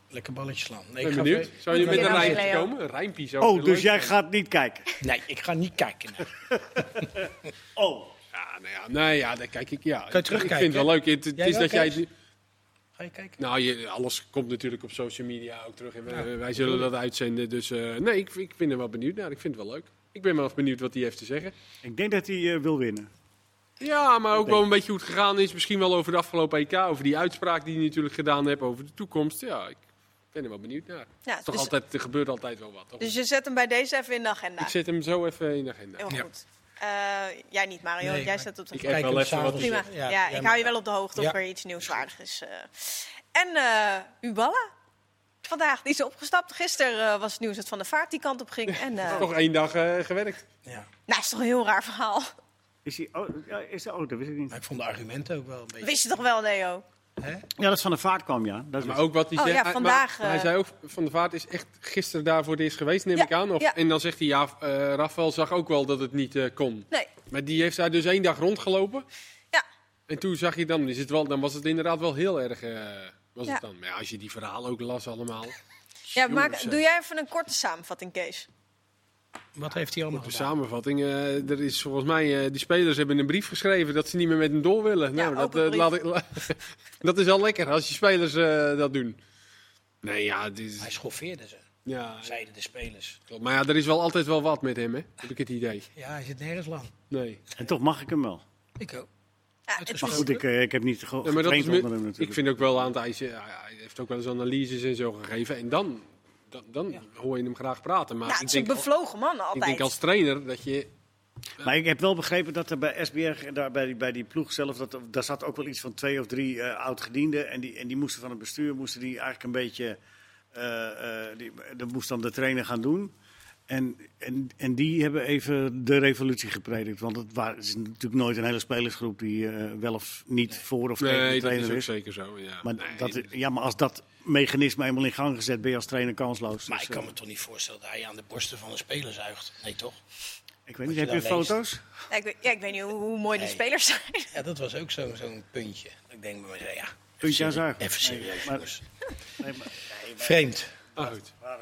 Speaker 4: Lekker balletje slaan. Nee,
Speaker 3: Ik ben
Speaker 4: ga
Speaker 3: benieuwd.
Speaker 4: ver-
Speaker 3: Zou je met
Speaker 1: Ik
Speaker 3: een
Speaker 1: ben
Speaker 3: rijmpje
Speaker 1: Leo.
Speaker 3: komen? Een rijmpje zou
Speaker 2: Oh,
Speaker 3: wel
Speaker 2: dus
Speaker 3: leuk
Speaker 2: jij
Speaker 3: zijn.
Speaker 2: gaat niet kijken.
Speaker 4: Nee, ik ga niet kijken. nee.
Speaker 2: Oh,
Speaker 3: Ja, nou ja, nou ja, daar kijk ik. Ja.
Speaker 4: je
Speaker 3: Ik
Speaker 4: terugkijken?
Speaker 3: vind het wel leuk. Het, het
Speaker 4: Jij
Speaker 3: is
Speaker 4: wel,
Speaker 3: dat jij.
Speaker 4: Kees?
Speaker 3: het niet-
Speaker 4: Ga je kijken?
Speaker 3: Nou, je, alles komt natuurlijk op social media ook terug. En wij, wij zullen dat uitzenden. Dus eh, nee, ik, ik ben er wel benieuwd naar. Ik vind het wel leuk. Ik ben wel benieuwd wat hij heeft te zeggen.
Speaker 2: ik denk dat hij eh, wil winnen.
Speaker 3: Ja, maar ook
Speaker 2: denk-
Speaker 3: wel een beetje hoe het gegaan is. Misschien wel over de afgelopen EK. Over die uitspraak die hij natuurlijk gedaan heeft. Over de toekomst. Ja, ik ben er wel benieuwd naar.
Speaker 1: Ja,
Speaker 3: Toch
Speaker 1: dus,
Speaker 3: altijd, er gebeurt altijd wel wat. Toch?
Speaker 1: dus je zet hem bij deze even in de agenda.
Speaker 3: Ik zet hem zo even in de agenda.
Speaker 1: Heel
Speaker 4: Ja.
Speaker 1: goed. Eh, jij niet, Mario.
Speaker 4: Nee,
Speaker 1: jij
Speaker 4: maar-
Speaker 1: zet op de
Speaker 3: Ik
Speaker 1: agenda.
Speaker 3: heb
Speaker 4: Kijk
Speaker 3: wel
Speaker 4: hem
Speaker 3: even wat te
Speaker 4: s'avonds.
Speaker 1: Prima. Ja, ik hou je wel op de hoogte of
Speaker 4: Ja.
Speaker 1: er iets nieuwswaardig is. eh. En eh Uballa. Vandaag, die is opgestapt. Gisteren eh, was het nieuws dat Van de Vaart die kant op ging. En, eh,
Speaker 3: Toch één dag eh, gewerkt.
Speaker 4: Ja.
Speaker 1: Nou, is toch een heel raar verhaal.
Speaker 2: Is hij, oh, ja, is hij, oh, dat wist ik niet.
Speaker 4: Maar ik vond de argumenten ook wel een beetje...
Speaker 1: Wist je toch wel, Leo?
Speaker 2: Ja, dat is van de vaart kwam, ja. Dat
Speaker 3: Maar
Speaker 2: wist ik.
Speaker 3: ook wat hij
Speaker 1: Oh,
Speaker 3: zei.
Speaker 1: ja,
Speaker 3: hij-
Speaker 1: vandaag,
Speaker 3: maar hij
Speaker 1: eh,
Speaker 3: zei ook, Van de Vaart is echt gisteren daar voor het eerst geweest, neem
Speaker 1: Ja,
Speaker 3: ik aan. Of,
Speaker 1: ja.
Speaker 3: En dan zegt hij, ja, eh Rafael zag ook wel dat het niet eh, kon.
Speaker 1: Nee.
Speaker 3: Maar die heeft daar dus één dag rondgelopen.
Speaker 1: Ja.
Speaker 3: En toen zag je dan, is het wel, dan was het inderdaad wel heel erg... eh, was
Speaker 1: Ja.
Speaker 3: het dan. Maar ja, als je die verhalen ook las allemaal.
Speaker 1: Ja, maak,
Speaker 3: Jongens,
Speaker 1: doe
Speaker 3: eh.
Speaker 1: jij even een korte samenvatting, Kees.
Speaker 4: Wat heeft hij allemaal
Speaker 3: De
Speaker 4: gedaan?
Speaker 3: samenvatting, eh, er is volgens mij, eh, die spelers hebben een brief geschreven dat ze niet meer met hem door willen.
Speaker 1: Ja,
Speaker 3: nou, dat,
Speaker 1: open
Speaker 3: eh,
Speaker 1: brief.
Speaker 3: laat ik, la- dat is al lekker als je spelers eh, dat doen. Nee, ja, dit
Speaker 4: Hij
Speaker 3: is,
Speaker 4: schoffeerde ze,
Speaker 3: ja,
Speaker 4: zeiden de spelers.
Speaker 3: klopt. maar ja, er is wel altijd wel wat met hem, hè? heb ik het idee.
Speaker 4: Ja, hij zit nergens lang.
Speaker 3: Nee.
Speaker 2: En toch mag ik hem wel.
Speaker 4: Ik ook.
Speaker 1: Ja, het
Speaker 2: Maar
Speaker 1: is-
Speaker 2: goed, ik, eh, ik heb niet ge
Speaker 3: Ja, maar dat is
Speaker 2: getraind
Speaker 3: me-
Speaker 2: onder hem natuurlijk.
Speaker 3: ik vind ook wel aan het ijsje, ja, ja, hij heeft ook wel eens analyses en zo gegeven. En dan, dan, dan hoor je hem graag praten. Maar
Speaker 1: nou,
Speaker 3: ik,
Speaker 1: het is een
Speaker 3: denk, al-
Speaker 1: bevlogen man
Speaker 3: ik
Speaker 1: altijd.
Speaker 3: denk als trainer dat je...
Speaker 2: Maar ik heb wel begrepen dat er bij SBR, eh, daar, bij, die, bij die ploeg zelf, dat, er- daar zat ook wel iets van twee of drie eh, oud-gedienden. En die, en die moesten van het bestuur, moesten die eigenlijk een beetje, eh, eh, die, dat moest dan de trainer gaan doen. En, en, en die hebben even de revolutie gepredikt. Want het, wa- het is natuurlijk nooit een hele spelersgroep die eh, wel of niet voor of tegen de
Speaker 3: Nee, dat is
Speaker 2: trainer
Speaker 3: ook
Speaker 2: is.
Speaker 3: zeker zo. Ja.
Speaker 2: Maar,
Speaker 3: Nee,
Speaker 2: dat, ja, maar als dat mechanisme eenmaal in gang gezet, ben je als trainer kansloos.
Speaker 4: Maar
Speaker 2: Dus,
Speaker 4: ik kan
Speaker 2: eh,
Speaker 4: me toch niet voorstellen dat hij aan de borsten van een speler zuigt. Nee, toch?
Speaker 2: ik weet niet,
Speaker 4: je
Speaker 2: heb je
Speaker 4: dan leest.
Speaker 2: foto's?
Speaker 1: Ja, ik, weet, ja, ik weet niet hoe, hoe mooi die
Speaker 4: Nee.
Speaker 1: spelers zijn.
Speaker 4: Ja, dat was ook zo'n zo'n puntje. Ik denk bij mezelf, ja,
Speaker 2: Puntje aan zuigen.
Speaker 4: even serieus,
Speaker 2: maar-
Speaker 4: jongens.
Speaker 2: Nee, maar-
Speaker 4: Vreemd.
Speaker 3: Ah, goed.
Speaker 1: Nou,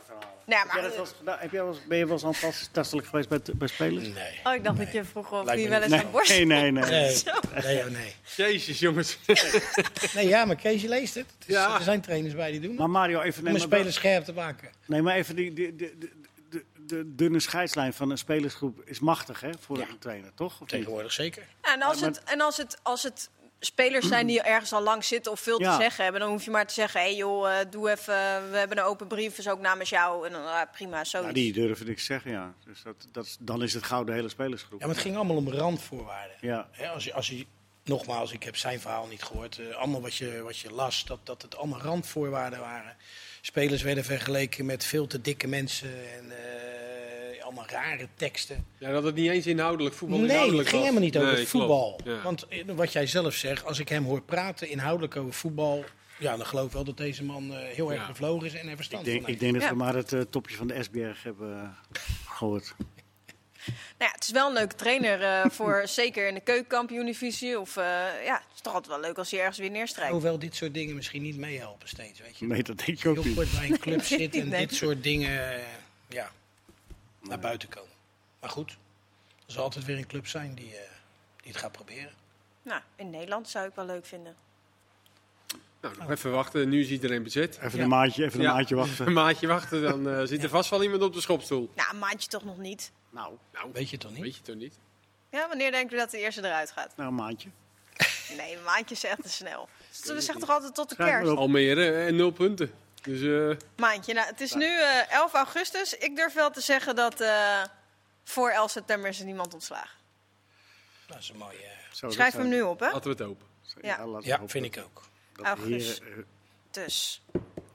Speaker 2: Heb jij
Speaker 1: maar,
Speaker 2: dat wel eens gedaan? Heb jij wel eens- ben je wel eens aantastelijk geweest bij, bij spelers?
Speaker 4: Nee.
Speaker 1: oh, ik dacht dat je vroeg of
Speaker 4: Lijkt
Speaker 1: die
Speaker 4: me
Speaker 1: wel eens aan borst.
Speaker 2: nee, nee, nee.
Speaker 4: Nee,
Speaker 1: Zo.
Speaker 4: nee, oh, nee.
Speaker 3: Jezus, jongens.
Speaker 4: Nee, ja, maar Kees, je leest het. Het is-
Speaker 3: Ja.
Speaker 4: Er zijn trainers bij die doen het.
Speaker 2: Maar Mario, even...
Speaker 4: Om
Speaker 2: Nee,
Speaker 4: een
Speaker 2: maar,
Speaker 4: speler scherp te maken.
Speaker 2: nee, maar even die, die, die, die- de, de dunne scheidslijn van een spelersgroep is machtig hè, voor
Speaker 4: Ja.
Speaker 2: een trainer, toch? Of niet?
Speaker 4: Tegenwoordig zeker.
Speaker 1: Ja, en als het, en als het, als het spelers zijn die ergens al lang zitten of veel
Speaker 2: Ja.
Speaker 1: te zeggen hebben, dan hoef je maar te zeggen: hé hey joh, eh, doe even, eh, we hebben een open brief, is ook namens jou. En dan ah, prima, zoiets.
Speaker 2: Ja, die durven niks zeggen, ja. Dus dat, dat is, dan is het gauw de hele spelersgroep.
Speaker 4: Ja, maar het ging allemaal om randvoorwaarden.
Speaker 2: Ja.
Speaker 4: Hè, als, je, als je, nogmaals, ik heb zijn verhaal niet gehoord. Eh, allemaal wat je, wat je las, dat, dat het allemaal randvoorwaarden waren. Spelers werden vergeleken met veel te dikke mensen en eh, allemaal rare teksten.
Speaker 3: Ja, dat het niet eens inhoudelijk voetbal
Speaker 4: nee, het
Speaker 3: inhoudelijk
Speaker 4: ging
Speaker 3: was.
Speaker 4: helemaal niet over
Speaker 3: Nee,
Speaker 4: voetbal.
Speaker 3: klopt. Ja.
Speaker 4: Want eh, wat jij zelf zegt, als ik hem hoor praten inhoudelijk over voetbal... Ja, dan geloof ik wel dat deze man eh, heel erg
Speaker 3: Ja.
Speaker 4: bevlogen is en er verstand
Speaker 2: Ik denk,
Speaker 4: van heeft.
Speaker 2: ik denk dat
Speaker 1: Ja.
Speaker 2: we maar het eh, topje van de SBR hebben eh, gehoord.
Speaker 1: Nou ja, het is wel een leuke trainer eh, voor zeker in de keukenkampioen-divisie. Of eh, ja, het is toch altijd wel leuk als hij ergens weer neerstrijkt.
Speaker 4: Hoewel dit soort dingen misschien niet meehelpen steeds, weet je.
Speaker 2: Nee, dat denk ik ook
Speaker 4: heel
Speaker 2: niet.
Speaker 4: kort bij een club zit en
Speaker 1: Nee.
Speaker 4: dit soort dingen eh, ja, naar buiten komen. Maar goed, er zal altijd weer een club zijn die, eh, die het gaat proberen.
Speaker 1: Nou, in Nederland zou ik wel leuk vinden.
Speaker 3: Nou, nog even wachten. Nu is iedereen bezet.
Speaker 2: Even
Speaker 4: Ja.
Speaker 2: een maatje, even
Speaker 3: Ja.
Speaker 2: een maatje
Speaker 3: Een
Speaker 2: wachten.
Speaker 3: maatje wachten, dan eh, zit er vast wel iemand op de schopstoel.
Speaker 1: Nou, een maandje toch nog niet.
Speaker 2: Nou,
Speaker 3: Nou,
Speaker 4: Weet je toch niet?
Speaker 3: weet je toch niet?
Speaker 1: Ja, wanneer denken we dat de eerste eruit gaat?
Speaker 2: nou een maandje.
Speaker 1: Nee, een maandje is echt te snel. Ze zeggen toch altijd tot de
Speaker 2: Schrijf maar
Speaker 1: kerst?
Speaker 2: op.
Speaker 3: Almere, eh, nul punten. Dus eh,
Speaker 1: Maandje. Nou, het is nu eh, 11 augustus. Ik durf wel te zeggen dat eh, voor 11 september is er niemand ontslagen.
Speaker 4: Dat is een mooie... eh,
Speaker 2: Zo, dat
Speaker 1: Schrijf
Speaker 2: zou-
Speaker 1: hem nu op, hè?
Speaker 3: laten we het open.
Speaker 2: zo-
Speaker 1: Ja. Oh,
Speaker 2: laten we
Speaker 4: ja,
Speaker 2: hopen
Speaker 4: vind
Speaker 2: dat-
Speaker 4: ik ook.
Speaker 2: Dat de
Speaker 1: August.
Speaker 2: heren eh,
Speaker 1: Dus,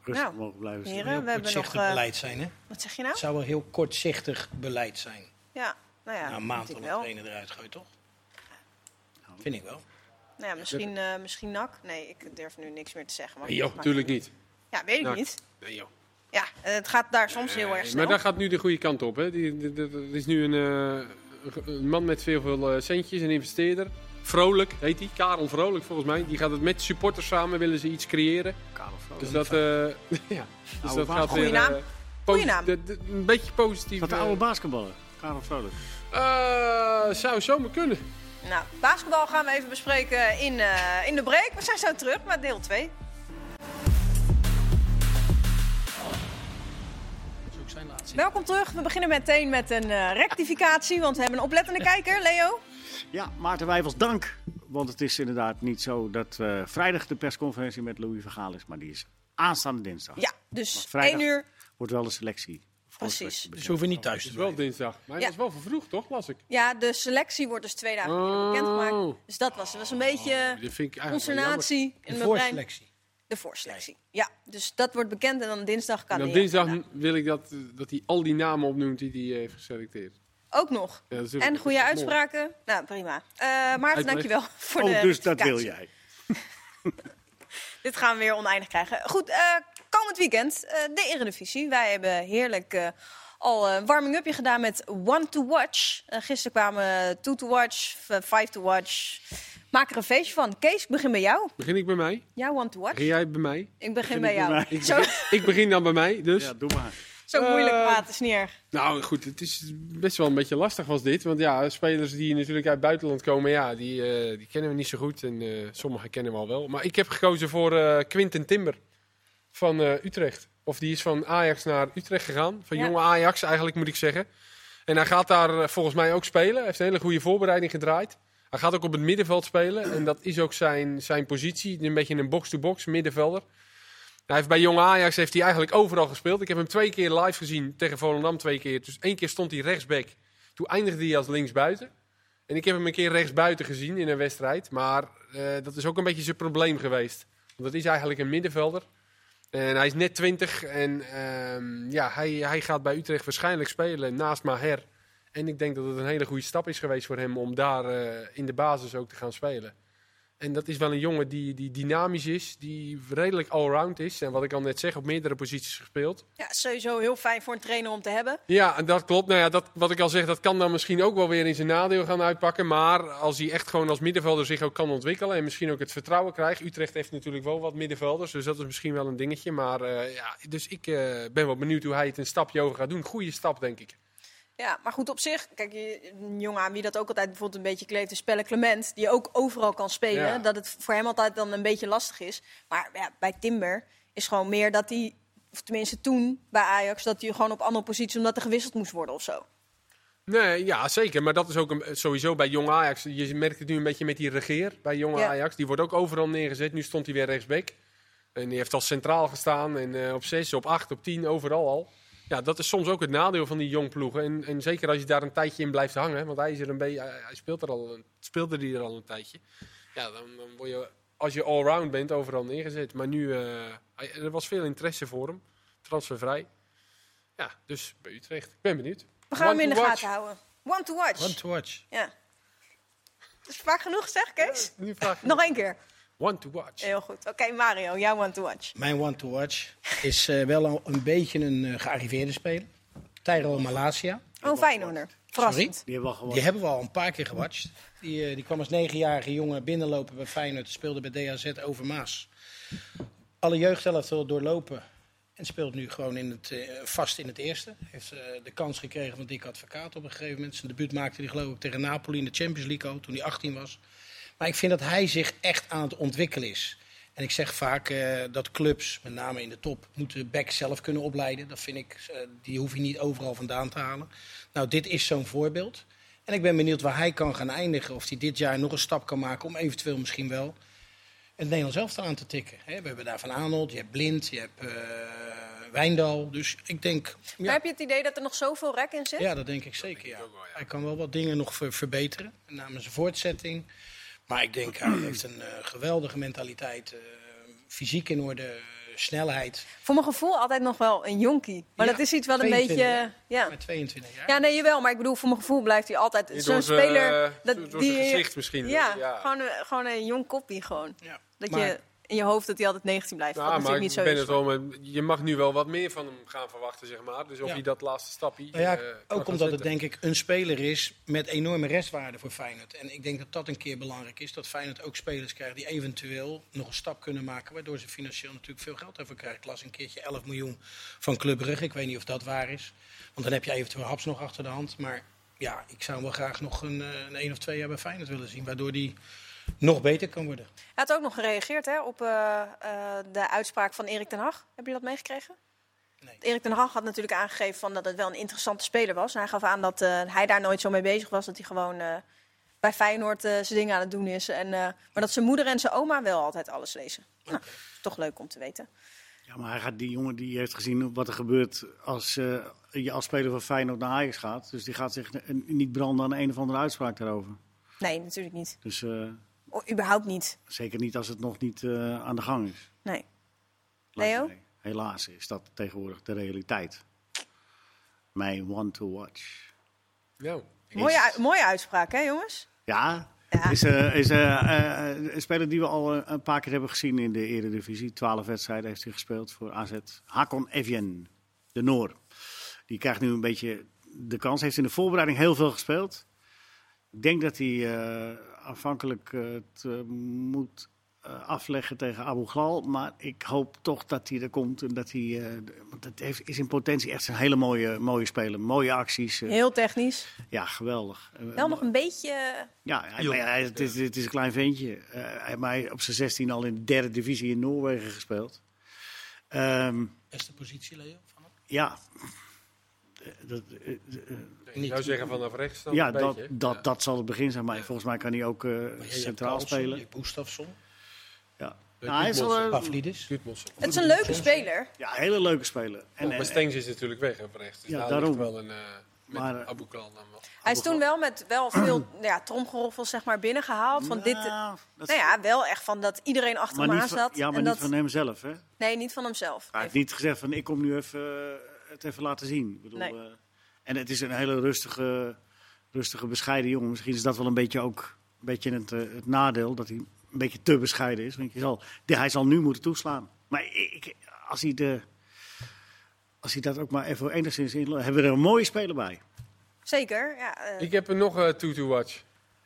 Speaker 2: rustig
Speaker 1: Nou,
Speaker 2: mogen blijven zitten.
Speaker 1: heren, we hebben nog...
Speaker 4: Kortzichtig
Speaker 1: eh,
Speaker 4: beleid zijn, hè?
Speaker 1: wat zeg je nou?
Speaker 4: Het zou wel heel kortzichtig beleid zijn.
Speaker 1: Ja, nou ja.
Speaker 4: Na een maand
Speaker 1: vind
Speaker 4: om
Speaker 1: ik
Speaker 4: het
Speaker 1: wel.
Speaker 4: ene eruit gooien, toch? Vind ik wel.
Speaker 1: Nou ja, misschien, eh, misschien nak. Nee, ik durf nu niks meer te zeggen. Maar
Speaker 3: Nee, Oh, joh, natuurlijk niet.
Speaker 1: Ja, weet ik
Speaker 3: NAC.
Speaker 1: niet.
Speaker 3: Nee, joh.
Speaker 1: Ja, eh, het gaat daar soms heel
Speaker 3: Eh,
Speaker 1: erg snel.
Speaker 3: maar daar gaat nu de goede kant op. Hè. Die, die- die- dat is nu een, eh, een man met veel, veel eh, centjes, een investeerder. Vrolijk heet hij, Karel Vrolijk volgens mij. Die gaat het met supporters samen, willen ze iets creëren.
Speaker 2: Karel Vrolijk.
Speaker 3: Dus dat, eh, ja. dus
Speaker 2: Oude
Speaker 3: dat
Speaker 2: baas.
Speaker 3: gaat
Speaker 1: Goeie
Speaker 3: weer...
Speaker 1: naam.
Speaker 3: eh,
Speaker 1: Goeie
Speaker 3: posi-
Speaker 1: naam.
Speaker 3: de- de- een beetje positief.
Speaker 2: Is dat de
Speaker 3: eh,
Speaker 2: oude basketballer? Karel Vrolijk.
Speaker 3: eh, zou zomaar kunnen.
Speaker 1: Nou, basketbal gaan we even bespreken in, eh, in de break. We zijn zo terug met deel 2.
Speaker 4: Dat is ook zijn laatste.
Speaker 1: Welkom terug. We beginnen meteen met een eh, rectificatie, want we hebben een oplettende kijker, Leo.
Speaker 2: Ja, Maarten Wijfels, dank. Want het is inderdaad niet zo dat eh, vrijdag de persconferentie met Louis Vergaal is. Maar die is aanstaande dinsdag.
Speaker 1: Ja, dus
Speaker 2: Maar vrijdag-
Speaker 1: 1 uur.
Speaker 2: Wordt wel de selectie.
Speaker 1: Precies.
Speaker 4: Dus we hoeven niet
Speaker 3: Het
Speaker 4: thuis te
Speaker 3: is wel
Speaker 4: blijven.
Speaker 3: dinsdag. Maar
Speaker 1: Ja.
Speaker 3: dat is wel vervroegd, toch? Las ik.
Speaker 1: Ja, de selectie wordt dus twee dagen eerder bekendgemaakt.
Speaker 3: Oh.
Speaker 1: Dus dat was, was een beetje eh,
Speaker 3: Dat vind ik eigenlijk wel jammer.
Speaker 1: consternatie in mijn
Speaker 4: Een
Speaker 1: brein.
Speaker 4: voorselectie.
Speaker 1: De voorselectie. Ja, dus dat wordt bekend en dan dinsdag kan
Speaker 3: En op
Speaker 1: hij-
Speaker 3: dinsdag
Speaker 1: ja.
Speaker 3: wil ik dat, eh, dat hij al die namen opnoemt die hij eh, heeft geselecteerd.
Speaker 1: Ook nog.
Speaker 3: Ja, dat is ook-
Speaker 1: En goede
Speaker 3: dat is
Speaker 1: uitspraken. Nou, prima. Eh Maarten,
Speaker 3: Uitleg.
Speaker 1: dankjewel voor de
Speaker 2: Oh, dus dat wil
Speaker 1: rectificatie.
Speaker 2: jij.
Speaker 1: Dit gaan we weer oneindig krijgen. Goed, eh, komend weekend eh, de Eredivisie. Wij hebben heerlijk eh, al een warming-upje gedaan met One to Watch. Eh, gisteren kwamen eh, Two to Watch, v- Five to Watch. Maak er een feestje van. Kees, ik begin bij jou.
Speaker 3: Begin ik bij mij?
Speaker 1: Jouw One to Watch.
Speaker 3: Begin jij bij mij?
Speaker 1: Ik begin bij jou.
Speaker 2: bij
Speaker 1: Zo,
Speaker 3: Ik begin dan bij mij, dus.
Speaker 2: Ja, doe maar.
Speaker 1: zo moeilijk
Speaker 2: Ah.
Speaker 3: Eh,
Speaker 1: praten is niet erg.
Speaker 3: Nou goed, het is best wel een beetje lastig was dit. Want ja, spelers die natuurlijk uit het buitenland komen, ja, die, eh, die kennen we niet zo goed. En eh sommigen kennen we al wel. Maar ik heb gekozen voor eh Quinten Timber van eh, Utrecht. Of die is van Ajax naar Utrecht gegaan. Van
Speaker 1: Ja.
Speaker 3: jonge Ajax eigenlijk, moet ik zeggen. En hij gaat daar eh, volgens mij ook spelen. Hij heeft een hele goede voorbereiding gedraaid. Hij gaat ook op het middenveld spelen. En dat is ook zijn, zijn positie. Een beetje een box-to-box middenvelder. Hij heeft bij Jong Ajax heeft hij eigenlijk overal gespeeld. Ik heb hem twee keer live gezien tegen Volendam twee keer. Dus één keer stond hij rechtsback. Toen eindigde hij als linksbuiten. En ik heb hem een keer rechtsbuiten gezien in een wedstrijd. Maar eh, dat is ook een beetje zijn probleem geweest. Want dat is eigenlijk een middenvelder. En hij is net 20 en ehm, ja, hij, hij gaat bij Utrecht waarschijnlijk spelen naast Maher. En ik denk dat het een hele goede stap is geweest voor hem om daar eh, in de basis ook te gaan spelen. En dat is wel een jongen die, die dynamisch is, die redelijk allround is. En wat ik al net zeg, op meerdere posities gespeeld.
Speaker 1: Ja, sowieso heel fijn voor een trainer om te hebben.
Speaker 3: Ja, en dat klopt. Nou ja, dat, wat ik al zeg, dat kan dan misschien ook wel weer in zijn nadeel gaan uitpakken. Maar als hij echt gewoon als middenvelder zich ook kan ontwikkelen en misschien ook het vertrouwen krijgt. Utrecht heeft natuurlijk wel wat middenvelders, dus dat is misschien wel een dingetje. Maar eh, ja, dus ik eh, ben wel benieuwd hoe hij het een stapje over gaat doen. Goede stap, denk ik.
Speaker 1: Ja, maar goed op zich. Kijk, je- een jongen aan wie dat ook altijd bijvoorbeeld een beetje kleeft is Pelle Clement. Die ook overal kan spelen.
Speaker 3: Ja.
Speaker 1: Dat het voor hem altijd dan een beetje lastig is. Maar ja, bij Timber is gewoon meer dat hij, of tenminste toen bij Ajax, dat hij gewoon op andere posities omdat er gewisseld moest worden of zo.
Speaker 3: Nee, ja, zeker. Maar dat is ook een, sowieso bij Jong Ajax. Je merkt het nu een beetje met die regeer bij Jong
Speaker 1: Ja.
Speaker 3: Ajax. Die wordt ook overal neergezet. Nu stond hij weer rechtsback. En die heeft al centraal gestaan. En eh, op 6, op 8, op 10, overal al. Ja, dat is soms ook het nadeel van die jong ploegen. En, en zeker als je daar een tijdje in blijft hangen. Want hij, is er een beetje, hij hij speelt er al, een- speelde die er al een tijdje. Ja, dan, dan word je, als je allround bent, overal neergezet. Maar nu, eh, hij- er was veel interesse voor hem. Transfervrij. Ja, dus bij Utrecht. Ik ben benieuwd.
Speaker 1: We gaan hem
Speaker 3: One
Speaker 1: in de
Speaker 3: to watch.
Speaker 1: gaten houden. One to watch.
Speaker 4: One to watch.
Speaker 1: Ja. Dat is vaak genoeg zeg, Kees?
Speaker 3: Nu vraag
Speaker 1: Nog één keer.
Speaker 3: One to watch.
Speaker 1: Heel goed. Oké, Mario, jouw one to watch.
Speaker 4: Mijn one to watch is eh, wel een, een beetje een eh, gearriveerde speler. Tyrell Malasia.
Speaker 1: Oh, Feyenoorder. Verrassend.
Speaker 2: Die hebben we al gewonnen.
Speaker 4: Die hebben we al een paar keer gewatcht. Die, eh, die kwam als negenjarige jongen binnenlopen bij Feyenoord. Speelde bij DAZ over Maas. Alle jeugdelftal doorlopen. En speelt nu gewoon in het, eh, vast in het eerste. Heeft eh, de kans gekregen van Dick Advocaat op een gegeven moment. Zijn debuut maakte hij geloof ik tegen Napoli in de Champions League al toen hij 18 was. Maar ik vind dat hij zich echt aan het ontwikkelen is. En ik zeg vaak eh, dat clubs, met name in de top, moeten back zelf kunnen opleiden. Dat vind ik, eh, die hoef je niet overal vandaan te halen. Nou, dit is zo'n voorbeeld. En ik ben benieuwd waar hij kan gaan eindigen. Of hij dit jaar nog een stap kan maken om eventueel misschien wel het Nederlands elftal aan te tikken. Hè, we hebben daar Van Arnold, je hebt Blind, je hebt eh, Wijndal. Dus ik denk,
Speaker 1: Maar
Speaker 4: ja,
Speaker 1: heb je het idee dat er nog zoveel rek in zit?
Speaker 4: ja, dat denk ik zeker. Ja. Hij kan wel wat dingen nog ver- verbeteren, met name zijn voortzetting. Maar ik denk, hij heeft een eh, geweldige mentaliteit, eh, fysiek in orde, eh, snelheid.
Speaker 1: Voor mijn gevoel altijd nog wel een jonkie. Maar
Speaker 4: Ja,
Speaker 1: dat is iets wat een
Speaker 4: 22,
Speaker 1: beetje... Ja.
Speaker 4: Met 22 jaar.
Speaker 1: ja, nee, jawel. Maar ik bedoel, voor mijn gevoel blijft hij altijd
Speaker 3: Door
Speaker 1: zo'n
Speaker 3: zijn- eh,
Speaker 1: speler...
Speaker 3: door zijn gezicht misschien. eh,
Speaker 1: Ja,
Speaker 3: Ja.
Speaker 1: Gewoon, een, gewoon een jong koppie gewoon.
Speaker 4: Ja.
Speaker 1: Dat
Speaker 4: Maar-
Speaker 1: je in je hoofd dat hij altijd 19 blijft.
Speaker 3: Ja,
Speaker 1: dat
Speaker 3: Nou, maar
Speaker 1: natuurlijk niet
Speaker 3: ik
Speaker 1: zo
Speaker 3: ben
Speaker 1: is.
Speaker 3: het wel met- je mag nu wel wat meer van hem gaan verwachten, zeg maar. Dus of
Speaker 4: Ja.
Speaker 3: hij dat laatste stapje.
Speaker 4: Nou ja,
Speaker 3: eh, kan
Speaker 4: ook
Speaker 3: gaan
Speaker 4: omdat het
Speaker 3: zetten.
Speaker 4: denk ik een speler is met enorme restwaarde voor Feyenoord. En ik denk dat dat een keer belangrijk is. Dat Feyenoord ook spelers krijgt die eventueel nog een stap kunnen maken. Waardoor ze financieel natuurlijk veel geld daarvoor krijgen. Ik las een keertje 11 miljoen van Club Brugge. Ik weet niet of dat waar is. Want dan heb je eventueel Haps nog achter de hand. Maar ja, ik zou hem wel graag nog een, eh, een één of twee jaar bij Feyenoord willen zien. Waardoor die nog beter kan worden.
Speaker 1: Hij had ook nog gereageerd hè, op eh, eh, de uitspraak van Erik ten Hag. Heb je dat meegekregen?
Speaker 4: Nee.
Speaker 1: Erik ten Hag had natuurlijk aangegeven van dat het wel een interessante speler was. En hij gaf aan dat eh, hij daar nooit zo mee bezig was. Dat hij gewoon eh, bij Feyenoord eh, zijn dingen aan het doen is. En, eh, maar dat zijn moeder en zijn oma wel altijd alles lezen. Nou, is toch leuk om te weten.
Speaker 2: Ja, maar hij gaat, die jongen die heeft gezien wat er gebeurt als eh, je als speler van Feyenoord naar Ajax gaat. Dus die gaat zich eh, niet branden aan een of andere uitspraak daarover.
Speaker 1: Nee, natuurlijk niet.
Speaker 2: Dus eh,
Speaker 1: O, überhaupt niet.
Speaker 2: zeker niet als het nog niet eh, aan de gang is.
Speaker 1: Nee. Leo?
Speaker 2: Nee, Helaas is dat tegenwoordig de realiteit. Mijn one to watch.
Speaker 3: Nou,
Speaker 1: Mooie, u- mooie uitspraak, hè jongens?
Speaker 2: Ja,
Speaker 1: Ja.
Speaker 2: is, eh, is eh, eh, een speler die we al eh, een paar keer hebben gezien in de Eredivisie. Twaalf wedstrijden heeft hij gespeeld voor AZ. Hakon Evjen, de Noor. Die krijgt nu een beetje de kans. Heeft in de voorbereiding heel veel gespeeld. Ik denk dat hij eh, aanvankelijk eh, het eh, moet eh, afleggen tegen Abu Ghal. Maar ik hoop toch dat hij er komt. En dat hij, eh, d- want het heeft, is in potentie echt een hele mooie, mooie speler. Mooie acties. eh,
Speaker 1: Heel technisch.
Speaker 2: ja, geweldig. Eh,
Speaker 1: Wel nog een beetje... eh,
Speaker 2: ja, hij- maar ja, hij- het, is, het is een klein ventje. Eh, hij heeft mij op zijn 16 al in de derde divisie in Noorwegen gespeeld. Ehm,
Speaker 4: Beste positie, Leo. Van hem?
Speaker 2: ja. Eh, Dat, eh, eh,
Speaker 3: ik zou zeggen vanaf rechts dan
Speaker 2: ja,
Speaker 3: een
Speaker 2: dat,
Speaker 3: beetje.
Speaker 2: dat, dat zal het begin zijn. Maar volgens mij kan hij ook eh,
Speaker 4: Maar jij hebt
Speaker 2: centraal
Speaker 4: Carlsen,
Speaker 2: spelen.
Speaker 4: Je hebt Gustafsson,
Speaker 2: Ja.
Speaker 3: Eh,
Speaker 2: Nou, hij is wel een
Speaker 4: Pavlidis.
Speaker 3: Gudmundsson.
Speaker 1: Het is een leuke speler.
Speaker 2: ja, hele leuke speler. En,
Speaker 3: Ja, maar
Speaker 2: eh,
Speaker 3: Stengs is natuurlijk weg hè, op rechts. Dus
Speaker 2: Ja,
Speaker 3: daar
Speaker 2: daarom.
Speaker 3: ligt wel een... eh met
Speaker 2: Maar, eh,
Speaker 3: Abu Khan dan wel.
Speaker 1: Hij is toen wel met wel veel ja, tromgeroffels zeg maar, binnengehaald. Van dit,
Speaker 2: nou, dat-
Speaker 1: nou ja, wel echt van dat iedereen achter
Speaker 2: maar
Speaker 1: hem aan
Speaker 2: niet van,
Speaker 1: zat.
Speaker 2: ja, maar
Speaker 1: en
Speaker 2: niet
Speaker 1: dat,
Speaker 2: van hem zelf. Hè?
Speaker 1: Nee, niet van hemzelf.
Speaker 2: Hij heeft niet gezegd van ik kom nu even, eh, het even laten zien. Ik bedoel,
Speaker 1: Nee.
Speaker 2: eh, en het is een hele rustige, rustige, bescheiden jongen. Misschien is dat wel een beetje ook een beetje het, eh, het nadeel dat hij een beetje te bescheiden is. Want je zal, de- hij zal nu moeten toeslaan. Maar ik, als, hij de, als hij dat ook maar even enigszins in, hebben we er een mooie speler bij.
Speaker 1: Zeker, ja. eh,
Speaker 3: Ik heb er nog eh two to watch.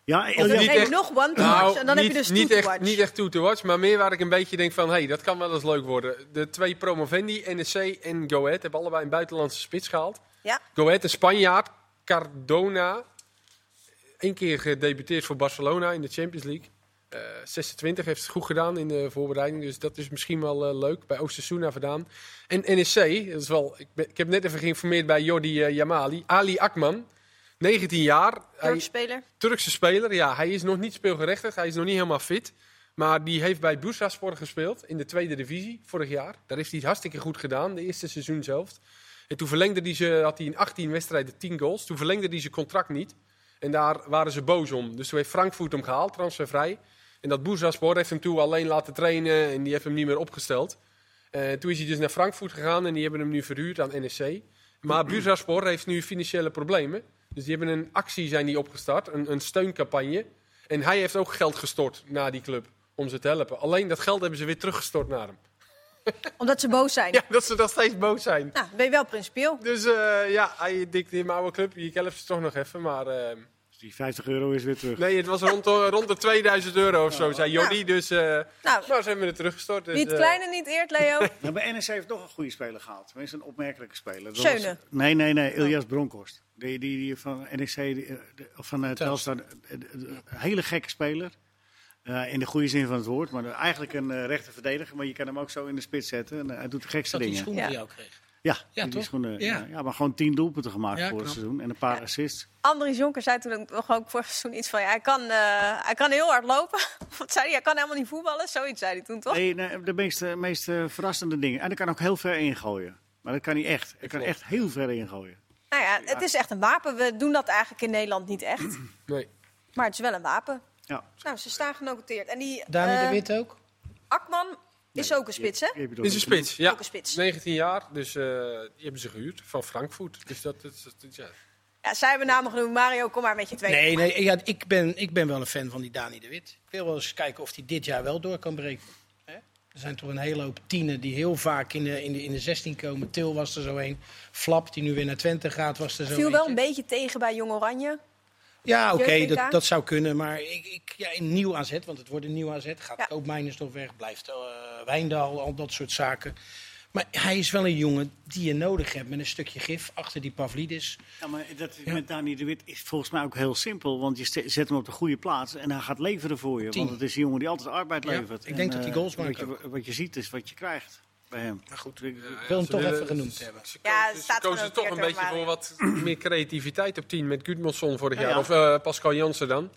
Speaker 2: Ja,
Speaker 1: dan
Speaker 2: Ilja-
Speaker 3: niet
Speaker 1: heb je
Speaker 3: echt-
Speaker 1: nog one to
Speaker 2: Nou,
Speaker 1: watch en dan heb je dus two
Speaker 3: niet
Speaker 1: to
Speaker 3: echt,
Speaker 1: watch.
Speaker 3: Niet echt two to watch, maar meer waar ik een beetje denk van... hé, hey, dat kan wel eens leuk worden. De twee promovendi, NEC en Go Ahead... hebben allebei een buitenlandse spits gehaald.
Speaker 1: Ja,
Speaker 3: Go Ahead, een Spanjaard, Cardona. Eén keer gedebuteerd voor Barcelona in de Champions League. Eh, 26 heeft het goed gedaan in de voorbereiding. Dus dat is misschien wel eh, leuk. Bij Oostersuna vandaan. E En NEC, dat is wel, ik, ben- ik heb net even geïnformeerd bij Jordi eh, Jamali. Ali Akman. 19 jaar. Hij,
Speaker 1: Turks speler.
Speaker 3: Turkse speler. Ja, hij is nog niet speelgerechtigd. Hij is nog niet helemaal fit. Maar die heeft bij Bursaspor gespeeld in de tweede divisie vorig jaar. Daar heeft hij het hartstikke goed gedaan, de eerste seizoen zelf. En toen verlengde hij ze, had hij in 18 wedstrijden 10 goals. Toen verlengde hij zijn contract niet. En daar waren ze boos om. Dus toen heeft Frankfurt hem gehaald, transfervrij. En dat Bursaspor heeft hem toen alleen laten trainen en die heeft hem niet meer opgesteld. Eh, toen is hij dus naar Frankfurt gegaan en die hebben hem nu verhuurd aan NEC. Maar Bursaspor heeft nu financiële problemen. Dus die hebben een actie zijn die opgestart, een, een steuncampagne. En hij heeft ook geld gestort naar die club om ze te helpen. Alleen dat geld hebben ze weer teruggestort naar hem.
Speaker 1: Omdat ze boos zijn.
Speaker 3: Ja, dat ze nog steeds boos zijn.
Speaker 1: Nou, ben je wel principieel.
Speaker 3: Dus eh, ja, hij dikt in mijn oude club. Ik help ze toch nog even, maar... eh,
Speaker 2: Dus die 50 euro is weer terug.
Speaker 3: nee, het was rond, de- rond de 2000 euro of zo, zei Jordi. Dus eh,
Speaker 1: Nou,
Speaker 3: nou, ze hebben het teruggestort. Dus,
Speaker 1: wie het
Speaker 3: eh,
Speaker 1: kleine niet eert, Leo.
Speaker 2: Nou, bij NEC heeft nog een goede speler gehaald. Tenminste, een opmerkelijke speler. Dat
Speaker 1: Schöne. Oh.
Speaker 2: was- nee, nee, nee. Ilias Bronkhorst. Die, die, die van NEC, die, eh, de- of van het Telstar. eh, de- de- een Hele gekke speler. Eh, in de goede zin van het woord. Maar eigenlijk een eh rechter verdediger. Maar je kan hem ook zo in de spits zetten. En, eh, hij doet de gekste
Speaker 4: Dat die
Speaker 2: dingen.
Speaker 4: schoen
Speaker 1: Ja.
Speaker 4: die jou kreeg.
Speaker 2: Ja, die- die
Speaker 4: toch?
Speaker 2: schoenen.
Speaker 4: Ja.
Speaker 2: Ja. ja, maar gewoon tien doelpunten gemaakt
Speaker 4: Ja,
Speaker 2: voor het
Speaker 4: knap.
Speaker 2: seizoen. En een paar assists.
Speaker 1: Andries Jonker zei toen ook nog ook vorig seizoen iets van... Ja, hij, kan, eh, hij kan heel hard lopen. Wat zei hij? Hij kan helemaal niet voetballen. Zoiets zei hij toen, toch?
Speaker 2: Nee, nee, de meest, eh, meest eh, verrassende dingen. En hij kan ook heel ver ingooien. Maar dat kan niet echt. Hij kan
Speaker 3: klopt.
Speaker 2: echt heel ver ingooien.
Speaker 1: Nou ja, het is echt een wapen. We doen dat eigenlijk in Nederland niet echt.
Speaker 3: Nee.
Speaker 1: Maar het is wel een wapen.
Speaker 2: Ja.
Speaker 1: Nou, ze staan genoteerd. En die
Speaker 4: Dani
Speaker 1: eh,
Speaker 4: de Wit ook?
Speaker 1: Akman is ook een spits, hè?
Speaker 2: Je hebt het
Speaker 3: Dit is een
Speaker 2: over-
Speaker 3: spits, ja.
Speaker 1: Ook een spits.
Speaker 3: 19 jaar, dus eh, die hebben ze gehuurd van Frankfurt. Dus dat, dat, dat- dat- ja.
Speaker 1: Ja, zij hebben namen genoemd. Mario, kom maar met je twee.
Speaker 4: Nee, nee ja, ik, ben, ik ben wel een fan van die Dani de Wit. Ik wil wel eens kijken of hij dit jaar wel door kan breken. Hè? Er zijn toch een hele hoop tienen die heel vaak in de, in de, in de 16 komen. Til was er zo een. Flap, die nu weer naar Twente gaat, was er zo
Speaker 1: Viel wel
Speaker 4: eentje.
Speaker 1: een beetje tegen bij Jong Oranje.
Speaker 4: Ja, oké,
Speaker 1: Jeugd-WK?
Speaker 4: dat, dat zou kunnen. Maar ik, ik, ja, een nieuw AZ, want het wordt een nieuw AZ. Gaat
Speaker 1: Ja.
Speaker 4: Koopmeiners toch weg, blijft eh, Wijndal, al dat soort zaken. Maar hij is wel een jongen die je nodig hebt met een stukje gif achter die Pavlidis.
Speaker 2: Ja, maar dat met Dani de Wit is volgens mij ook heel simpel. Want je ste- zet hem op de goede plaats en hij gaat leveren voor je.
Speaker 4: Tien.
Speaker 2: Want het is een jongen die altijd arbeid
Speaker 4: Ja,
Speaker 2: levert.
Speaker 4: ik denk dat
Speaker 2: eh,
Speaker 4: hij goals maakt
Speaker 2: Wat je, wat je ziet is wat je krijgt bij hem. Nou
Speaker 4: Maar goed,
Speaker 2: Ik-
Speaker 4: ik eh, wil hem
Speaker 3: ze
Speaker 4: toch
Speaker 3: willen-
Speaker 4: even genoemd hebben.
Speaker 3: Ze
Speaker 1: Ja,
Speaker 3: kozen,
Speaker 1: het
Speaker 3: ze
Speaker 1: staat
Speaker 3: kozen
Speaker 1: genoteerd
Speaker 3: toch een
Speaker 1: door
Speaker 3: beetje
Speaker 1: Mario.
Speaker 3: voor wat meer creativiteit op 10 met Gudmundsson vorig
Speaker 2: Ja,
Speaker 3: jaar.
Speaker 2: ja.
Speaker 3: Of eh, Pascal Jansen dan.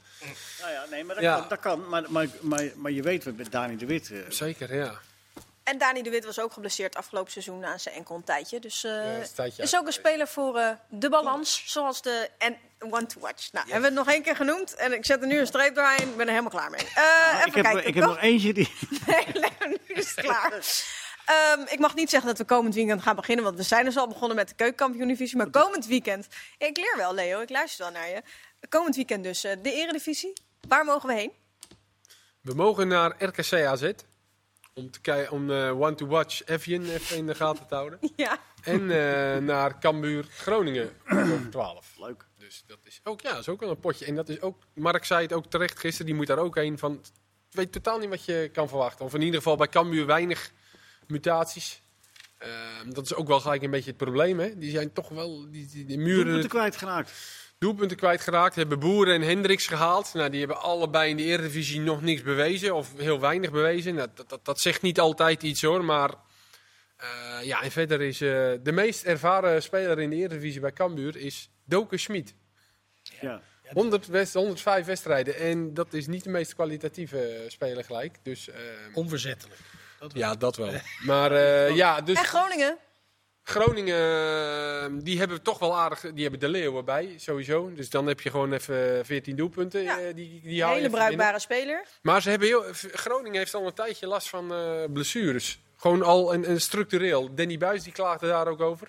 Speaker 2: Nou ja, nee, maar dat
Speaker 3: Ja.
Speaker 2: kan. Dat kan. Maar, maar, maar, maar je weet wat met Dani de Wit. eh,
Speaker 3: Zeker, ja.
Speaker 1: En Dani de Wit was ook geblesseerd afgelopen seizoen aan zijn enkel een tijdje. Dus eh,
Speaker 3: dat is een tijdje
Speaker 1: is ook een speler voor eh, de balans, zoals de en one to watch. Nou, hebben we het nog één keer genoemd. En ik zet er nu een streep doorheen. Ik ben er helemaal klaar mee. Eh, even
Speaker 2: Nou, ik heb,
Speaker 1: kijken.
Speaker 2: ik heb nog eentje die.
Speaker 1: Nee, Leo, nu is het klaar. Ehm, ik mag niet zeggen dat we komend weekend gaan beginnen, want we zijn dus al begonnen met de keukenkampioen-divisie. Maar komend weekend, ik leer wel, Leo, ik luister wel naar je. Komend weekend dus eh, de Eredivisie. Waar mogen we heen?
Speaker 3: We mogen naar RKC AZ. Om, te kei- om eh, One to Watch Evian even in de gaten te houden.
Speaker 1: Ja.
Speaker 3: En eh, naar Cambuur Groningen over 12.
Speaker 2: Leuk.
Speaker 3: Dus dat is ook, ja, dat is ook wel een potje. En dat is ook, Mark zei het ook terecht gisteren, die moet daar ook heen. Van, ik weet totaal niet wat je kan verwachten. Of in ieder geval bij Cambuur weinig mutaties. Ehm, dat is ook wel gelijk een beetje het probleem. Hè? Die zijn toch wel, die, die, die muren,
Speaker 2: Doelpunten kwijtgeraakt.
Speaker 3: doelpunten kwijtgeraakt. Hebben Boeren en Hendricks gehaald. Nou, die hebben allebei in de Eredivisie nog niks bewezen. Of heel weinig bewezen. Nou, dat, dat, dat zegt niet altijd iets hoor. Maar eh, ja, en verder is eh, de meest ervaren speler in de Eredivisie bij Cambuur is Doken Schmid.
Speaker 2: Ja.
Speaker 3: 100 west, 105 wedstrijden. En dat is niet de meest kwalitatieve eh, speler gelijk. Dus, eh,
Speaker 4: Onverzettelijk.
Speaker 3: ja, dat wel. Maar eh, ja, dus
Speaker 1: En Groningen?
Speaker 3: Groningen, eh, die hebben toch wel aardig... Die hebben de Leeuwen bij, sowieso. Dus dan heb je gewoon even 14 doelpunten.
Speaker 1: Ja.
Speaker 3: eh, die, die
Speaker 1: Een hele
Speaker 3: haal je even Eh,
Speaker 1: bruikbare speler.
Speaker 3: binnen. Maar ze hebben heel, Groningen heeft al een tijdje last van eh, blessures. Gewoon al en, en structureel. Danny Buis die klaagde daar ook over.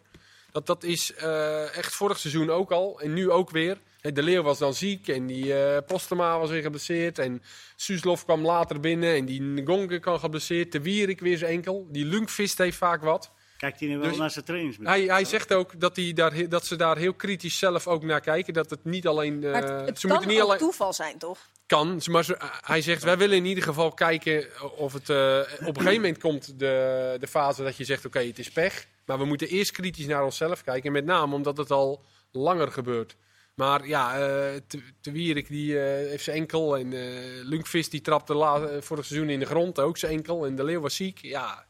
Speaker 3: Dat, dat is eh, echt vorig seizoen ook al. En nu ook weer. Hè, De Leeuw was dan ziek. En die eh, Postema was weer geblesseerd. En Suslov kwam later binnen. En die Ngonke kan geblesseerd. De Wierik weer zijn enkel. Die Lunkvist heeft vaak wat.
Speaker 2: Kijkt hij nu wel
Speaker 3: Dus-
Speaker 2: naar zijn trainings?
Speaker 3: Hij, hij zegt ook dat, hij daar, he- dat ze daar heel kritisch zelf ook naar kijken. Dat het niet alleen... eh,
Speaker 1: Maar het, het
Speaker 3: ze
Speaker 1: kan
Speaker 3: moeten niet
Speaker 1: ook
Speaker 3: alleen
Speaker 1: toeval zijn, toch?
Speaker 3: kan. Maar ze- eh, hij zegt, wij willen in ieder geval kijken of het... eh, op een gegeven moment komt de, de fase dat je zegt, oké, het is pech. Maar we moeten eerst kritisch naar onszelf kijken. Met name omdat het al langer gebeurt. Maar ja, eh Te- Te Wierik die, eh, heeft zijn enkel. En eh Lunkvist die trapte la- eh, vorig seizoen in de grond ook zijn enkel. En De Leeuw was ziek. Ja,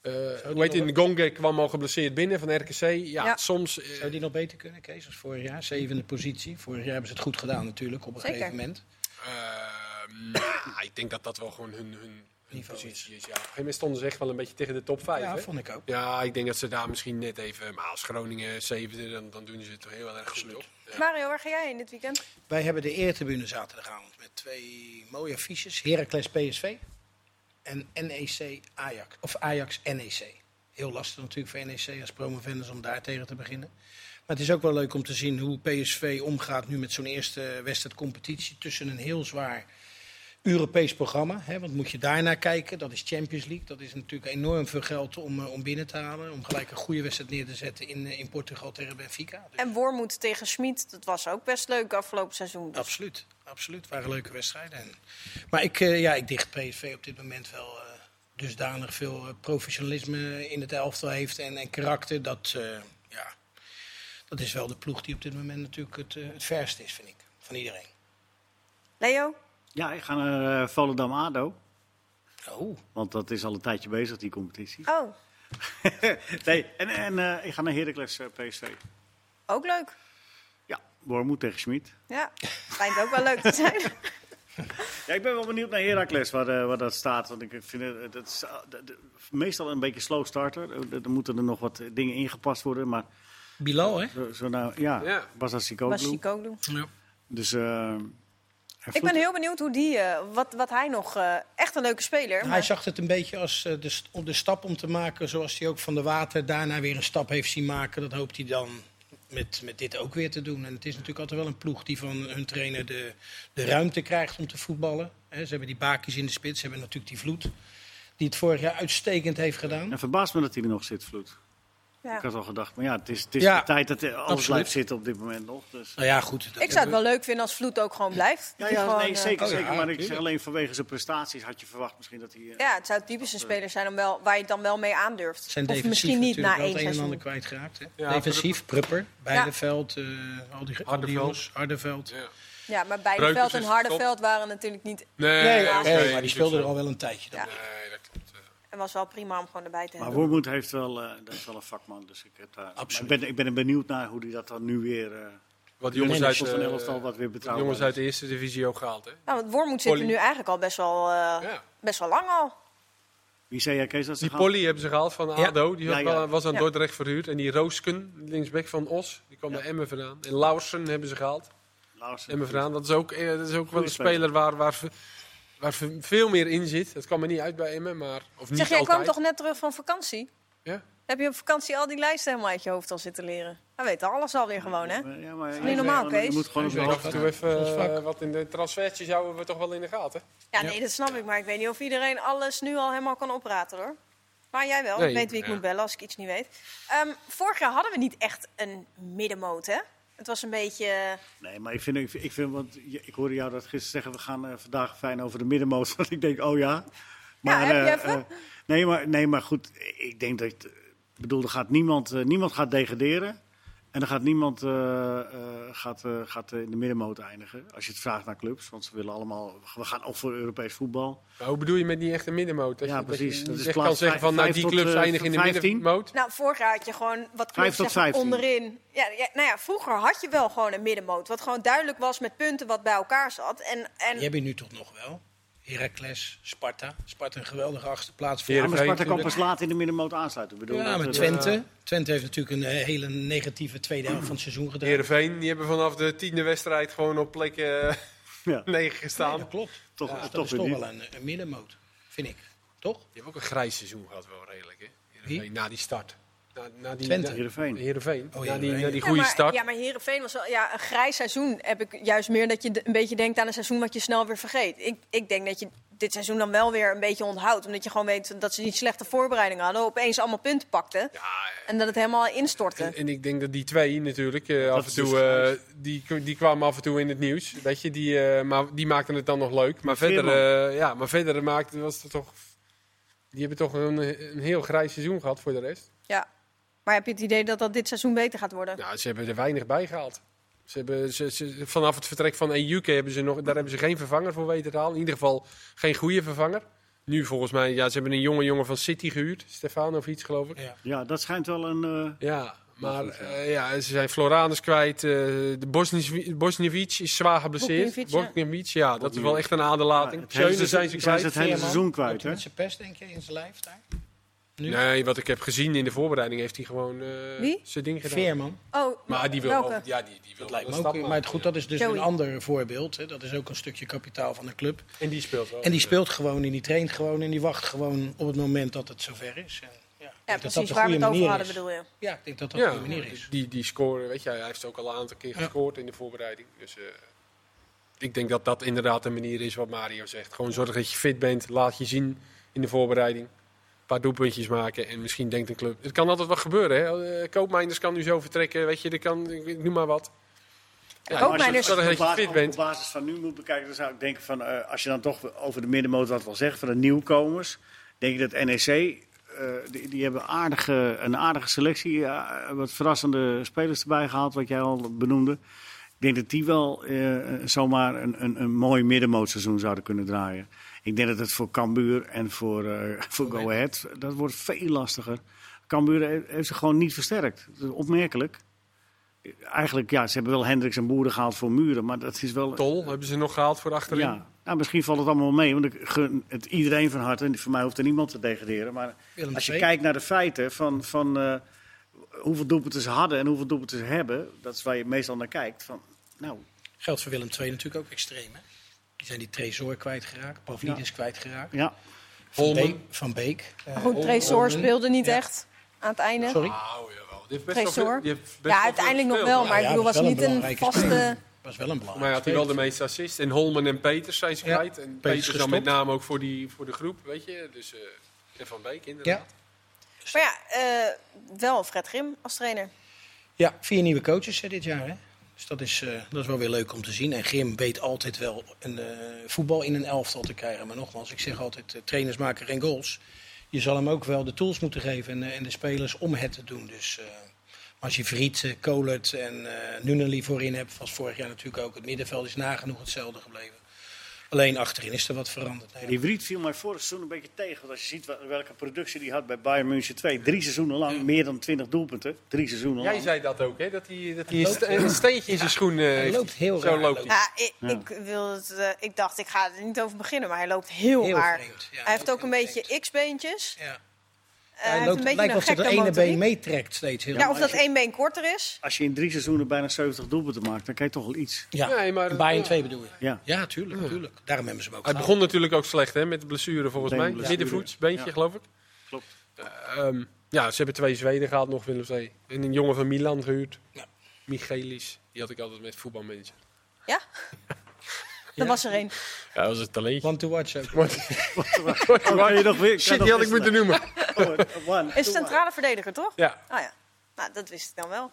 Speaker 3: eh, hoe heet het, Ngonge kwam al geblesseerd binnen van RKC. Ja,
Speaker 1: Ja.
Speaker 3: soms... eh,
Speaker 4: Zou die nog beter kunnen, Kees, als vorig jaar? Zevende positie. Vorig jaar hebben ze het goed gedaan natuurlijk, op een
Speaker 1: Zeker.
Speaker 4: gegeven moment.
Speaker 3: Ehm, nou, ik denk dat dat wel gewoon hun, hun, hun
Speaker 4: Niveau
Speaker 3: positie is. Ja. Op een gegeven moment stonden ze echt wel een beetje tegen de top 5.
Speaker 4: Ja,
Speaker 3: hè?
Speaker 4: vond ik ook.
Speaker 3: ja, ik denk dat ze daar misschien net even... Maar als Groningen zevende, dan, dan doen ze het toch heel erg goed, toch? Ja.
Speaker 1: Mario, waar ga jij in dit weekend?
Speaker 4: Wij hebben de eertribune zaterdagavond met twee mooie affiches. Heracles PSV en NEC Ajax. Of Ajax NEC. Heel lastig natuurlijk voor NEC als promovendus om daar tegen te beginnen. Maar het is ook wel leuk om te zien hoe PSV omgaat nu met zo'n eerste wedstrijd competitie. Tussen een heel zwaar Europees programma. Hè? Want moet je daarnaar kijken, dat is Champions League. Dat is natuurlijk enorm veel geld om, eh, om binnen te halen. Om gelijk een goede wedstrijd neer te zetten in, eh, in Portugal tegen Benfica. Dus-
Speaker 1: En Wormoed tegen Schmid, dat was ook best leuk afgelopen seizoen. Dus
Speaker 4: Absoluut, absoluut. waren leuke wedstrijden. En- maar ik, eh, ja, ik dicht PSV op dit moment wel eh, dusdanig veel eh, professionalisme in het elftal heeft en, en karakter. Dat, eh, ja, dat is wel de ploeg die op dit moment natuurlijk het, eh, het verste is, vind ik. Van iedereen.
Speaker 1: Leo?
Speaker 2: Ja, ik ga naar eh Volendam-Ado.
Speaker 4: Oh,
Speaker 2: Want dat is al een tijdje bezig, die competitie.
Speaker 1: Oh,
Speaker 2: Nee, en, en eh, ik ga naar Heracles eh, PSV.
Speaker 1: ook leuk.
Speaker 2: Ja, Wormoed tegen Schmid.
Speaker 1: Ja, schijnt ook wel leuk te zijn.
Speaker 2: Ja, ik ben wel benieuwd naar Heracles, waar, eh, waar dat staat. Want ik vind het dat is, eh, dat- dat- meestal een beetje slow starter. Eh, Er moeten er nog wat eh, dingen ingepast worden. Maar
Speaker 4: Bilal, hè?
Speaker 2: zo, zo nou, ja,
Speaker 3: Ja.
Speaker 2: was dat
Speaker 1: Was
Speaker 2: Sikoglu.
Speaker 1: Chicoglu.
Speaker 2: Dus eh, hij
Speaker 1: Ik
Speaker 2: voelt-
Speaker 1: ben heel benieuwd hoe die, eh, wat, wat hij nog, eh, echt een leuke speler.
Speaker 4: Nou,
Speaker 1: maar-
Speaker 4: hij zag het een beetje als eh, de, st- om de stap om te maken, zoals hij ook van de water daarna weer een stap heeft zien maken. Dat hoopt hij dan met, met dit ook weer te doen. En het is natuurlijk altijd wel een ploeg die van hun trainer de, de ruimte krijgt om te voetballen. Hè, ze hebben die bakjes in de spits, ze hebben natuurlijk die vloed, die het vorig jaar uitstekend heeft gedaan.
Speaker 2: En verbaast me dat hij er nog zit, Vloed.
Speaker 1: ja.
Speaker 2: Ik had al gedacht, maar ja, het is, het is
Speaker 4: Ja,
Speaker 2: de tijd dat eh, alles
Speaker 4: absoluut.
Speaker 2: blijft zitten op dit moment nog. Dus.
Speaker 4: Nou ja, goed. dat
Speaker 1: Ik zou het
Speaker 4: hebben
Speaker 1: wel leuk vinden als Vloed ook gewoon blijft.
Speaker 2: Ja,
Speaker 1: Die
Speaker 2: ja
Speaker 1: gewoon,
Speaker 2: nee,
Speaker 1: eh,
Speaker 2: zeker,
Speaker 4: oh ja,
Speaker 2: zeker. Maar ik zeg
Speaker 4: tuurlijk.
Speaker 2: alleen vanwege zijn prestaties had je verwacht misschien dat hij... eh,
Speaker 1: Ja, het zou typisch een speler zijn om wel, waar je het dan wel mee aandurft.
Speaker 4: we. zijn
Speaker 1: of
Speaker 4: defensief
Speaker 1: misschien niet
Speaker 4: natuurlijk
Speaker 1: na
Speaker 4: wel
Speaker 1: één
Speaker 4: het een en
Speaker 1: seizoen.
Speaker 4: ander kwijtgeraakt. Hè?
Speaker 3: Ja,
Speaker 4: defensief, Prupper, Beideveld, eh, al die, al die
Speaker 3: Hardeveld.
Speaker 4: jongens, Hardeveld.
Speaker 3: Ja.
Speaker 1: Ja, maar Beideveld
Speaker 3: Breukers
Speaker 1: en
Speaker 3: is
Speaker 1: Hardenveld waren natuurlijk niet...
Speaker 3: Nee,
Speaker 4: Nee,
Speaker 3: oké,
Speaker 4: nee, maar die
Speaker 3: natuurlijk
Speaker 4: speelde er
Speaker 3: zo.
Speaker 4: al wel een tijdje dan.
Speaker 1: Ja.
Speaker 3: Nee, dat klopt. eh.
Speaker 1: En was wel prima om gewoon erbij te
Speaker 2: Maar
Speaker 1: hebben.
Speaker 2: Wormoed heeft wel, eh, dat is wel een vakman, dus ik, heb daar,
Speaker 4: Absoluut.
Speaker 2: maar ik, ben, ik ben er benieuwd naar hoe hij dat dan nu weer... eh,
Speaker 3: Wat die jongens
Speaker 2: Nee,
Speaker 3: uit,
Speaker 2: dat is van
Speaker 3: eh,
Speaker 2: elftal wat weer betrouwbaar
Speaker 3: jongens
Speaker 2: is.
Speaker 3: uit de eerste divisie ook gehaald, hè?
Speaker 1: Nou, want Wormoed zit er
Speaker 3: Polly.
Speaker 1: nu eigenlijk al best wel, eh,
Speaker 3: Ja.
Speaker 1: best wel lang al.
Speaker 2: wie zei jij, Kees, dat ze
Speaker 3: Die
Speaker 2: gaan-
Speaker 3: Polly hebben ze gehaald van
Speaker 4: Ja.
Speaker 3: ADO. Die
Speaker 2: Ja,
Speaker 3: had
Speaker 2: ja.
Speaker 3: wel- was aan
Speaker 1: Ja.
Speaker 3: Dordrecht verhuurd. En die Roosken, linksback van Os, die kwam
Speaker 2: Ja.
Speaker 3: naar Emmen vandaan. En Lauwersen hebben ze gehaald.
Speaker 2: Lauwersen.
Speaker 3: Emmen vandaan. Dat is ook, eh, dat is ook wel een
Speaker 2: speler.
Speaker 3: speler waar, waar, ve- waar ve- veel meer in zit. Dat kwam er niet uit bij Emmen, maar... Of niet
Speaker 1: Zeg, jij kwam
Speaker 3: altijd.
Speaker 1: toch net terug van vakantie?
Speaker 3: Ja.
Speaker 1: Heb je op vakantie al die lijsten helemaal uit je hoofd al zitten leren? Hij weet alles alweer gewoon, hè?
Speaker 2: Ja, maar,
Speaker 1: niet normaal,
Speaker 2: je
Speaker 1: Kees.
Speaker 2: moet gewoon op
Speaker 3: Dus
Speaker 2: je
Speaker 3: af
Speaker 2: hoogte
Speaker 3: en
Speaker 2: zijn.
Speaker 3: toe even
Speaker 4: Ons vak.
Speaker 3: eh, wat in de transfertjes houden we toch wel in de gaten.
Speaker 1: Ja, nee, dat snap ik. Maar ik weet niet of iedereen alles nu al helemaal kan opraten, hoor. Maar jij wel.
Speaker 3: Nee,
Speaker 1: ik weet wie ik
Speaker 3: ja.
Speaker 1: moet bellen als ik iets niet weet. Ehm, vorig jaar hadden we niet echt een middenmoot, hè? Het was een beetje...
Speaker 2: Nee, maar ik vind, ik vind, ik vind- want je- ik hoorde jou dat gisteren zeggen, we gaan eh, vandaag fijn over de middenmoot. Dat ik denk, oh ja. Maar,
Speaker 1: heb je
Speaker 2: eh,
Speaker 1: even?
Speaker 2: eh, nee, maar, nee, maar goed, ik denk dat, ik bedoel, er gaat niemand, eh, niemand gaat degraderen. En er gaat niemand eh, eh, gaat, eh, gaat eh, in de middenmoot eindigen. Als je het vraagt naar clubs, want ze willen allemaal, we gaan ook voor Europees voetbal.
Speaker 3: Maar hoe bedoel je met niet echt een middenmoot? Dat
Speaker 2: Ja,
Speaker 3: je,
Speaker 2: precies.
Speaker 3: Dat je
Speaker 2: Dat is
Speaker 3: niet echt kan
Speaker 2: plaats
Speaker 3: zeggen van, nou,
Speaker 2: vijf
Speaker 3: die
Speaker 2: tot,
Speaker 3: clubs
Speaker 2: eh,
Speaker 3: eindigen in de
Speaker 2: 15?
Speaker 3: middenmoot.
Speaker 1: Nou, vorig jaar had je gewoon wat clubs
Speaker 2: Vijf tot
Speaker 1: zeg maar,
Speaker 2: vijftien.
Speaker 1: onderin. Ja, ja, nou ja, vroeger had je wel gewoon een middenmoot. Wat gewoon duidelijk was met punten wat bij elkaar zat. En, en
Speaker 4: Die heb je nu toch nog wel. Heracles, Sparta. Sparta een geweldige achtste plaats voor.
Speaker 2: Ja,
Speaker 3: Heerenveen
Speaker 2: maar Sparta kan
Speaker 3: natuurlijk.
Speaker 2: pas laat in de middenmoot aansluiten. Ik bedoel,
Speaker 4: Ja,
Speaker 2: dat- eh,
Speaker 4: maar
Speaker 2: dat-
Speaker 4: Twente. Twente heeft natuurlijk een eh, hele negatieve tweede helft van het seizoen gedaan.
Speaker 3: Heerenveen, die hebben vanaf de tiende wedstrijd gewoon op plek eh,
Speaker 2: Ja,
Speaker 3: negen
Speaker 4: Nee,
Speaker 3: gestaan.
Speaker 4: dat klopt.
Speaker 2: Toch-
Speaker 4: Ja,
Speaker 2: toch
Speaker 4: dat is
Speaker 2: weer
Speaker 4: toch
Speaker 2: niet.
Speaker 4: wel een, een middenmoot, vind ik. Toch?
Speaker 3: Die hebben ook een grijs seizoen gehad, wel redelijk. Hè? Heerenveen,
Speaker 4: Wie?
Speaker 3: Na die start. Na, na die,
Speaker 4: Twente.
Speaker 3: na-
Speaker 2: Heerenveen.
Speaker 3: Heerenveen.
Speaker 4: Oh,
Speaker 3: na die,
Speaker 4: Heerenveen.
Speaker 3: na die
Speaker 1: Ja,
Speaker 3: goede
Speaker 1: maar,
Speaker 3: start.
Speaker 1: Ja, maar Heerenveen was wel ja, een grijs seizoen. Heb ik juist meer dat je d- een beetje denkt aan een seizoen wat je snel weer vergeet. Ik, ik denk dat je dit seizoen dan wel weer een beetje onthoudt. Omdat je gewoon weet dat ze die slechte voorbereiding hadden. Opeens allemaal punten pakten.
Speaker 3: Ja, eh,
Speaker 1: En dat het helemaal instortte.
Speaker 3: en, en ik denk dat die twee natuurlijk eh, af en
Speaker 2: Eh. is
Speaker 3: toe...
Speaker 2: dus
Speaker 3: eh,
Speaker 2: grijs.
Speaker 3: die, die kwamen af en toe in het nieuws. Weet je, die, eh, maar die maakten het dan nog leuk. Maar verder,
Speaker 2: Veerman.
Speaker 3: eh, ja, maar verder maakte, was het toch... Die hebben toch een, een heel grijs seizoen gehad voor de rest.
Speaker 1: Ja. Maar heb je het idee dat dat dit seizoen beter gaat worden?
Speaker 3: Nou, ze hebben er weinig bij gehaald. Ze hebben, ze, ze- vanaf E het vertrek van EUK hebben ze nog, daar hebben ze geen vervanger voor weten te halen. In ieder geval geen goede vervanger. nu volgens mij, ja, ze hebben een jonge jongen van City gehuurd. Stefano of iets, geloof ik.
Speaker 4: Ja.
Speaker 2: Ja, dat schijnt wel een... eh,
Speaker 3: Ja, maar eh, ja, ze zijn Floranus kwijt. eh, de Bosnisch- Bosniewicz is zwaar geblesseerd.
Speaker 1: Bogdanovic, ja.
Speaker 3: Bosniewicz, ja, dat is wel echt een
Speaker 2: ja,
Speaker 3: aderlating.
Speaker 2: het hele
Speaker 3: Schöne zijn ze
Speaker 2: seizoen-
Speaker 3: kwijt.
Speaker 2: het hele seizoen
Speaker 4: Wordt
Speaker 2: kwijt,
Speaker 4: hij
Speaker 2: hè?
Speaker 4: met zijn pest, denk je, in zijn lijf daar? nu?
Speaker 3: Nee, wat ik heb gezien in de voorbereiding heeft hij gewoon eh,
Speaker 1: Wie?
Speaker 3: zijn ding gedaan.
Speaker 4: Veerman.
Speaker 1: Oh,
Speaker 3: Maar die wil
Speaker 1: welke?
Speaker 3: wel- ja, die, die wil
Speaker 4: Dat lijkt
Speaker 3: wel
Speaker 4: me
Speaker 3: een stap
Speaker 4: ook. Maar
Speaker 3: maken.
Speaker 4: goed, dat is dus
Speaker 1: Joey.
Speaker 4: een ander voorbeeld. Hè. Dat is ook een stukje kapitaal van de club.
Speaker 3: En die speelt wel.
Speaker 4: En die speelt gewoon en die traint gewoon en die wacht gewoon op het moment dat het zover is. En, ja, ik denk
Speaker 1: ja,
Speaker 4: dat dat
Speaker 1: precies
Speaker 4: de
Speaker 1: waar we
Speaker 4: goede
Speaker 1: het over
Speaker 4: manier
Speaker 1: hadden,
Speaker 4: is.
Speaker 1: bedoel je.
Speaker 4: Ja, ik denk dat dat
Speaker 3: ja,
Speaker 4: de goede manier is.
Speaker 3: Die, die scoren, weet je, hij heeft ook al een aantal keer
Speaker 4: Ja.
Speaker 3: gescoord in de voorbereiding. Dus eh, ik denk dat dat inderdaad een manier is wat Mario zegt. Gewoon zorg dat je fit bent, laat je zien in de voorbereiding. Een paar doelpuntjes maken en misschien denkt een club... Het kan altijd wat gebeuren, hè. Eh, Koopmijnders kan nu zo vertrekken, weet je, er kan, ik ik noem maar wat. Ja,
Speaker 1: Koopmijnders-
Speaker 3: maar zorg
Speaker 2: Als je
Speaker 3: dat je
Speaker 2: op
Speaker 3: fit
Speaker 2: basis,
Speaker 3: bent.
Speaker 2: op basis van nu moet bekijken, dan zou ik denken van eh, als je dan toch over de middenmoot wat wil zeggen van de nieuwkomers, denk ik dat NEC eh, die, die hebben aardige, een aardige selectie, ja, wat verrassende spelers erbij gehaald, wat jij al benoemde. Ik denk dat die wel eh, zomaar een, een, een mooi middenmootseizoen zouden kunnen draaien. Ik denk dat het voor Cambuur en voor, eh, voor Go Ahead, dat wordt veel lastiger. Cambuur he- heeft zich gewoon niet versterkt. Dat is opmerkelijk. Eigenlijk, ja, ze hebben wel Hendricks en Boeren gehaald voor Muren, maar dat is wel...
Speaker 3: Tol hebben ze nog gehaald voor achterin.
Speaker 2: Ja, nou, misschien valt het allemaal mee, want ik gun het iedereen van harte. En voor mij hoeft er niemand te degraderen. Maar
Speaker 4: Willem
Speaker 2: als je
Speaker 4: II.
Speaker 2: kijkt naar de feiten van, van eh, hoeveel doelpunten ze hadden en hoeveel doelpunten ze hebben, dat is waar je meestal naar kijkt. Van, nou,
Speaker 4: Geldt voor Willem II natuurlijk ook extreem. Hè? Die zijn die Tresor kwijtgeraakt, Pavlidis kwijtgeraakt.
Speaker 2: ja,
Speaker 4: Van
Speaker 3: Holmen.
Speaker 4: Beek. Van Beek.
Speaker 1: Maar goed, Tresor
Speaker 4: Holmen.
Speaker 1: speelde niet
Speaker 4: Eh, Ja.
Speaker 1: echt aan het einde.
Speaker 4: Sorry?
Speaker 3: Nou, jawel. Die heeft best wel
Speaker 1: Tresor.
Speaker 3: veel- die heeft best wel
Speaker 1: ja,
Speaker 3: veel
Speaker 1: uiteindelijk nog
Speaker 3: gespeeld,
Speaker 1: wel,
Speaker 3: hè.
Speaker 1: maar ik
Speaker 4: Ja,
Speaker 1: bedoel,
Speaker 4: was
Speaker 1: was
Speaker 4: wel een
Speaker 1: niet een
Speaker 4: belangrijke
Speaker 1: vaste...
Speaker 4: speler. was wel een belangrijk.
Speaker 3: Maar ja, hij had hij wel de meeste assist. En Holman en Peters zijn ze
Speaker 4: Ja,
Speaker 3: kwijt. En
Speaker 4: Peters
Speaker 3: Peters dan met
Speaker 4: gestopt.
Speaker 3: name ook voor, die, voor de groep, weet je. Dus, eh, en Van Beek inderdaad.
Speaker 4: Ja.
Speaker 1: Maar ja, eh, wel Fred Grim als trainer.
Speaker 4: Ja, vier nieuwe coaches hè, dit jaar. Hè? Dus dat is, eh, dat is wel weer leuk om te zien. En Grim weet altijd wel een, eh, voetbal in een elftal te krijgen. Maar nogmaals, ik zeg altijd, eh, trainers maken geen goals. Je zal hem ook wel de tools moeten geven en, eh, en de spelers om het te doen. Dus eh, maar als je Vriet, eh, Kolert en eh Nunali voorin hebt, was vorig jaar natuurlijk ook. Het middenveld is nagenoeg hetzelfde gebleven. Alleen achterin is er wat veranderd. Nou ja,
Speaker 2: die Wriet viel mij vorig seizoen een beetje tegen. Want als je ziet wel- welke productie die had bij Bayern München 2, drie seizoenen lang, meer dan 20 doelpunten. Drie seizoenen
Speaker 3: Jij
Speaker 2: lang.
Speaker 3: zei dat ook, hè? Dat hij, dat hij een ste- een steentje in zijn schoen eh, heeft.
Speaker 4: loopt heel
Speaker 3: Zo
Speaker 4: raar,
Speaker 3: loopt
Speaker 4: loopt
Speaker 3: hij.
Speaker 1: Ja, ik, ik, wil het, eh, ik dacht, ik ga er niet over beginnen, maar hij loopt heel,
Speaker 4: Heel
Speaker 1: raar.
Speaker 4: vreemd, ja,
Speaker 1: hij heeft ook een
Speaker 4: heel
Speaker 1: beetje x-beentjes.
Speaker 4: ja.
Speaker 1: Eh, hij heeft
Speaker 4: loopt-
Speaker 1: een beetje
Speaker 4: lijkt
Speaker 1: een
Speaker 4: alsof
Speaker 1: gekke
Speaker 4: dat ene been
Speaker 1: motoriek.
Speaker 4: meetrekt steeds. Heel
Speaker 1: Ja, of dat één been korter is.
Speaker 2: Als je in drie seizoenen bijna 70 doelpunten maakt, dan krijg je toch wel iets.
Speaker 4: Ja,
Speaker 3: Nee, maar-
Speaker 4: Bayern
Speaker 3: ja.
Speaker 4: 2 bedoel je.
Speaker 2: Ja.
Speaker 4: Ja, Ah, tuurlijk, tuurlijk. Daarom hebben ze hem ook
Speaker 3: Hij
Speaker 4: gehaald.
Speaker 3: begon natuurlijk ook slecht, hè? Met de blessure volgens
Speaker 2: Been
Speaker 3: mij.
Speaker 2: blessure.
Speaker 3: Middenvoets, beentje,
Speaker 2: Ja.
Speaker 3: geloof ik.
Speaker 2: Klopt.
Speaker 3: Eh, ehm, ja, ze hebben twee Zweden gehaald nog, Willem II. En een jongen van Milan gehuurd.
Speaker 4: Ja.
Speaker 3: Michelis. Die had ik altijd met voetbalmanager.
Speaker 1: Ja? Dat was er één.
Speaker 3: Ja, dat was een talentje.
Speaker 4: Want to watch ook.
Speaker 2: Oh, kan je nog weer, kan
Speaker 3: Shit,
Speaker 2: nog
Speaker 3: die had ik
Speaker 2: wisselen.
Speaker 3: moeten noemen.
Speaker 2: Oh, one,
Speaker 1: Is
Speaker 2: two,
Speaker 1: centrale verdediger, toch?
Speaker 3: Ja.
Speaker 1: Oh ja, nou, dat wist ik dan wel.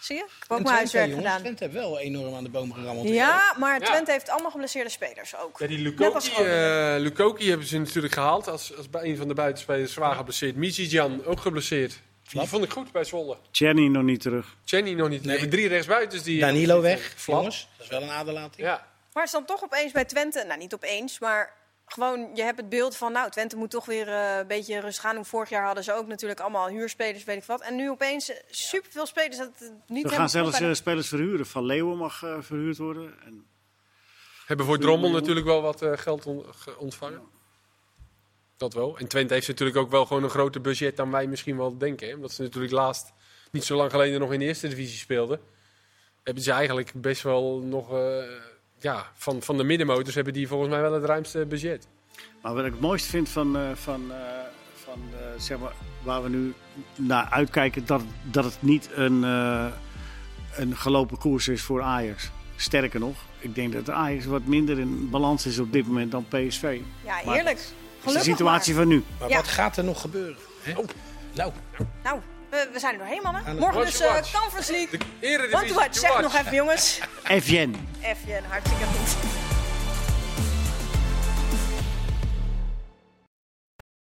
Speaker 1: Zie je? Ik heb ook mijn
Speaker 4: En Twente,
Speaker 1: huiswerk
Speaker 4: jongens,
Speaker 1: gedaan.
Speaker 4: Twente heeft wel enorm aan de boom gerammeld.
Speaker 1: Ja, maar
Speaker 3: Ja.
Speaker 1: Twente heeft allemaal geblesseerde spelers ook.
Speaker 3: Ja, die
Speaker 1: Net als
Speaker 3: Lukoki,
Speaker 1: Groningen.
Speaker 3: eh, Lukoki hebben ze natuurlijk gehaald als, als bij een van de buitenspelers zwaar geblesseerd. Mizijan ook geblesseerd. Die vond ik goed bij Zwolle.
Speaker 2: Tjerny nog niet terug.
Speaker 3: Jenny nog niet. We
Speaker 4: Nee.
Speaker 3: hebben drie rechtsbuitens die... eh,
Speaker 4: Danilo weg,
Speaker 3: Flap.
Speaker 4: jongens. Dat is wel een aderlating.
Speaker 3: Ja.
Speaker 1: Maar is dan toch opeens bij Twente, nou niet opeens, maar gewoon je hebt het beeld van, nou Twente moet toch weer eh, een beetje rustig aan doen. Vorig jaar hadden ze ook natuurlijk allemaal huurspelers, weet ik wat. En nu opeens eh, superveel spelers dat het niet
Speaker 2: We
Speaker 1: helemaal
Speaker 2: gaan zelfs
Speaker 1: klopt.
Speaker 2: eh, spelers verhuren. Van Leeuwen mag eh, verhuurd worden. En
Speaker 3: Hebben voor Drommel natuurlijk wel wat eh, geld on- ge- ontvangen. Dat wel. En Twente heeft natuurlijk ook wel gewoon een groter budget dan wij misschien wel denken. Hè? Omdat ze natuurlijk laatst, niet zo lang geleden, nog in de eerste divisie speelden. Hebben ze eigenlijk best wel nog... eh, ja, van, van de middenmotors hebben die volgens mij wel het ruimste budget.
Speaker 2: Maar wat ik het mooiste vind van, eh, van, eh, van eh, zeg maar, waar we nu naar uitkijken, dat, dat het niet een, eh, een gelopen koers is voor Ajax. Sterker nog, ik denk dat Ajax wat minder in balans is op dit moment dan PSV. Dat is
Speaker 1: Ja, heerlijk.
Speaker 2: de
Speaker 1: Gelukkig
Speaker 2: situatie van nu.
Speaker 4: Maar
Speaker 1: Ja.
Speaker 4: wat gaat er nog gebeuren? Hè?
Speaker 3: Oh.
Speaker 4: Nou,
Speaker 1: maar. Nou, we, we zijn er doorheen, mannen.
Speaker 4: Aan het
Speaker 1: Morgen
Speaker 3: watch,
Speaker 1: dus eh,
Speaker 3: watch.
Speaker 1: Conference League.
Speaker 3: Eredivisie,
Speaker 1: Want wat,
Speaker 3: to
Speaker 1: zeg
Speaker 3: watch.
Speaker 1: nog even jongens.
Speaker 2: Evjen.
Speaker 1: Even hartstikke goed.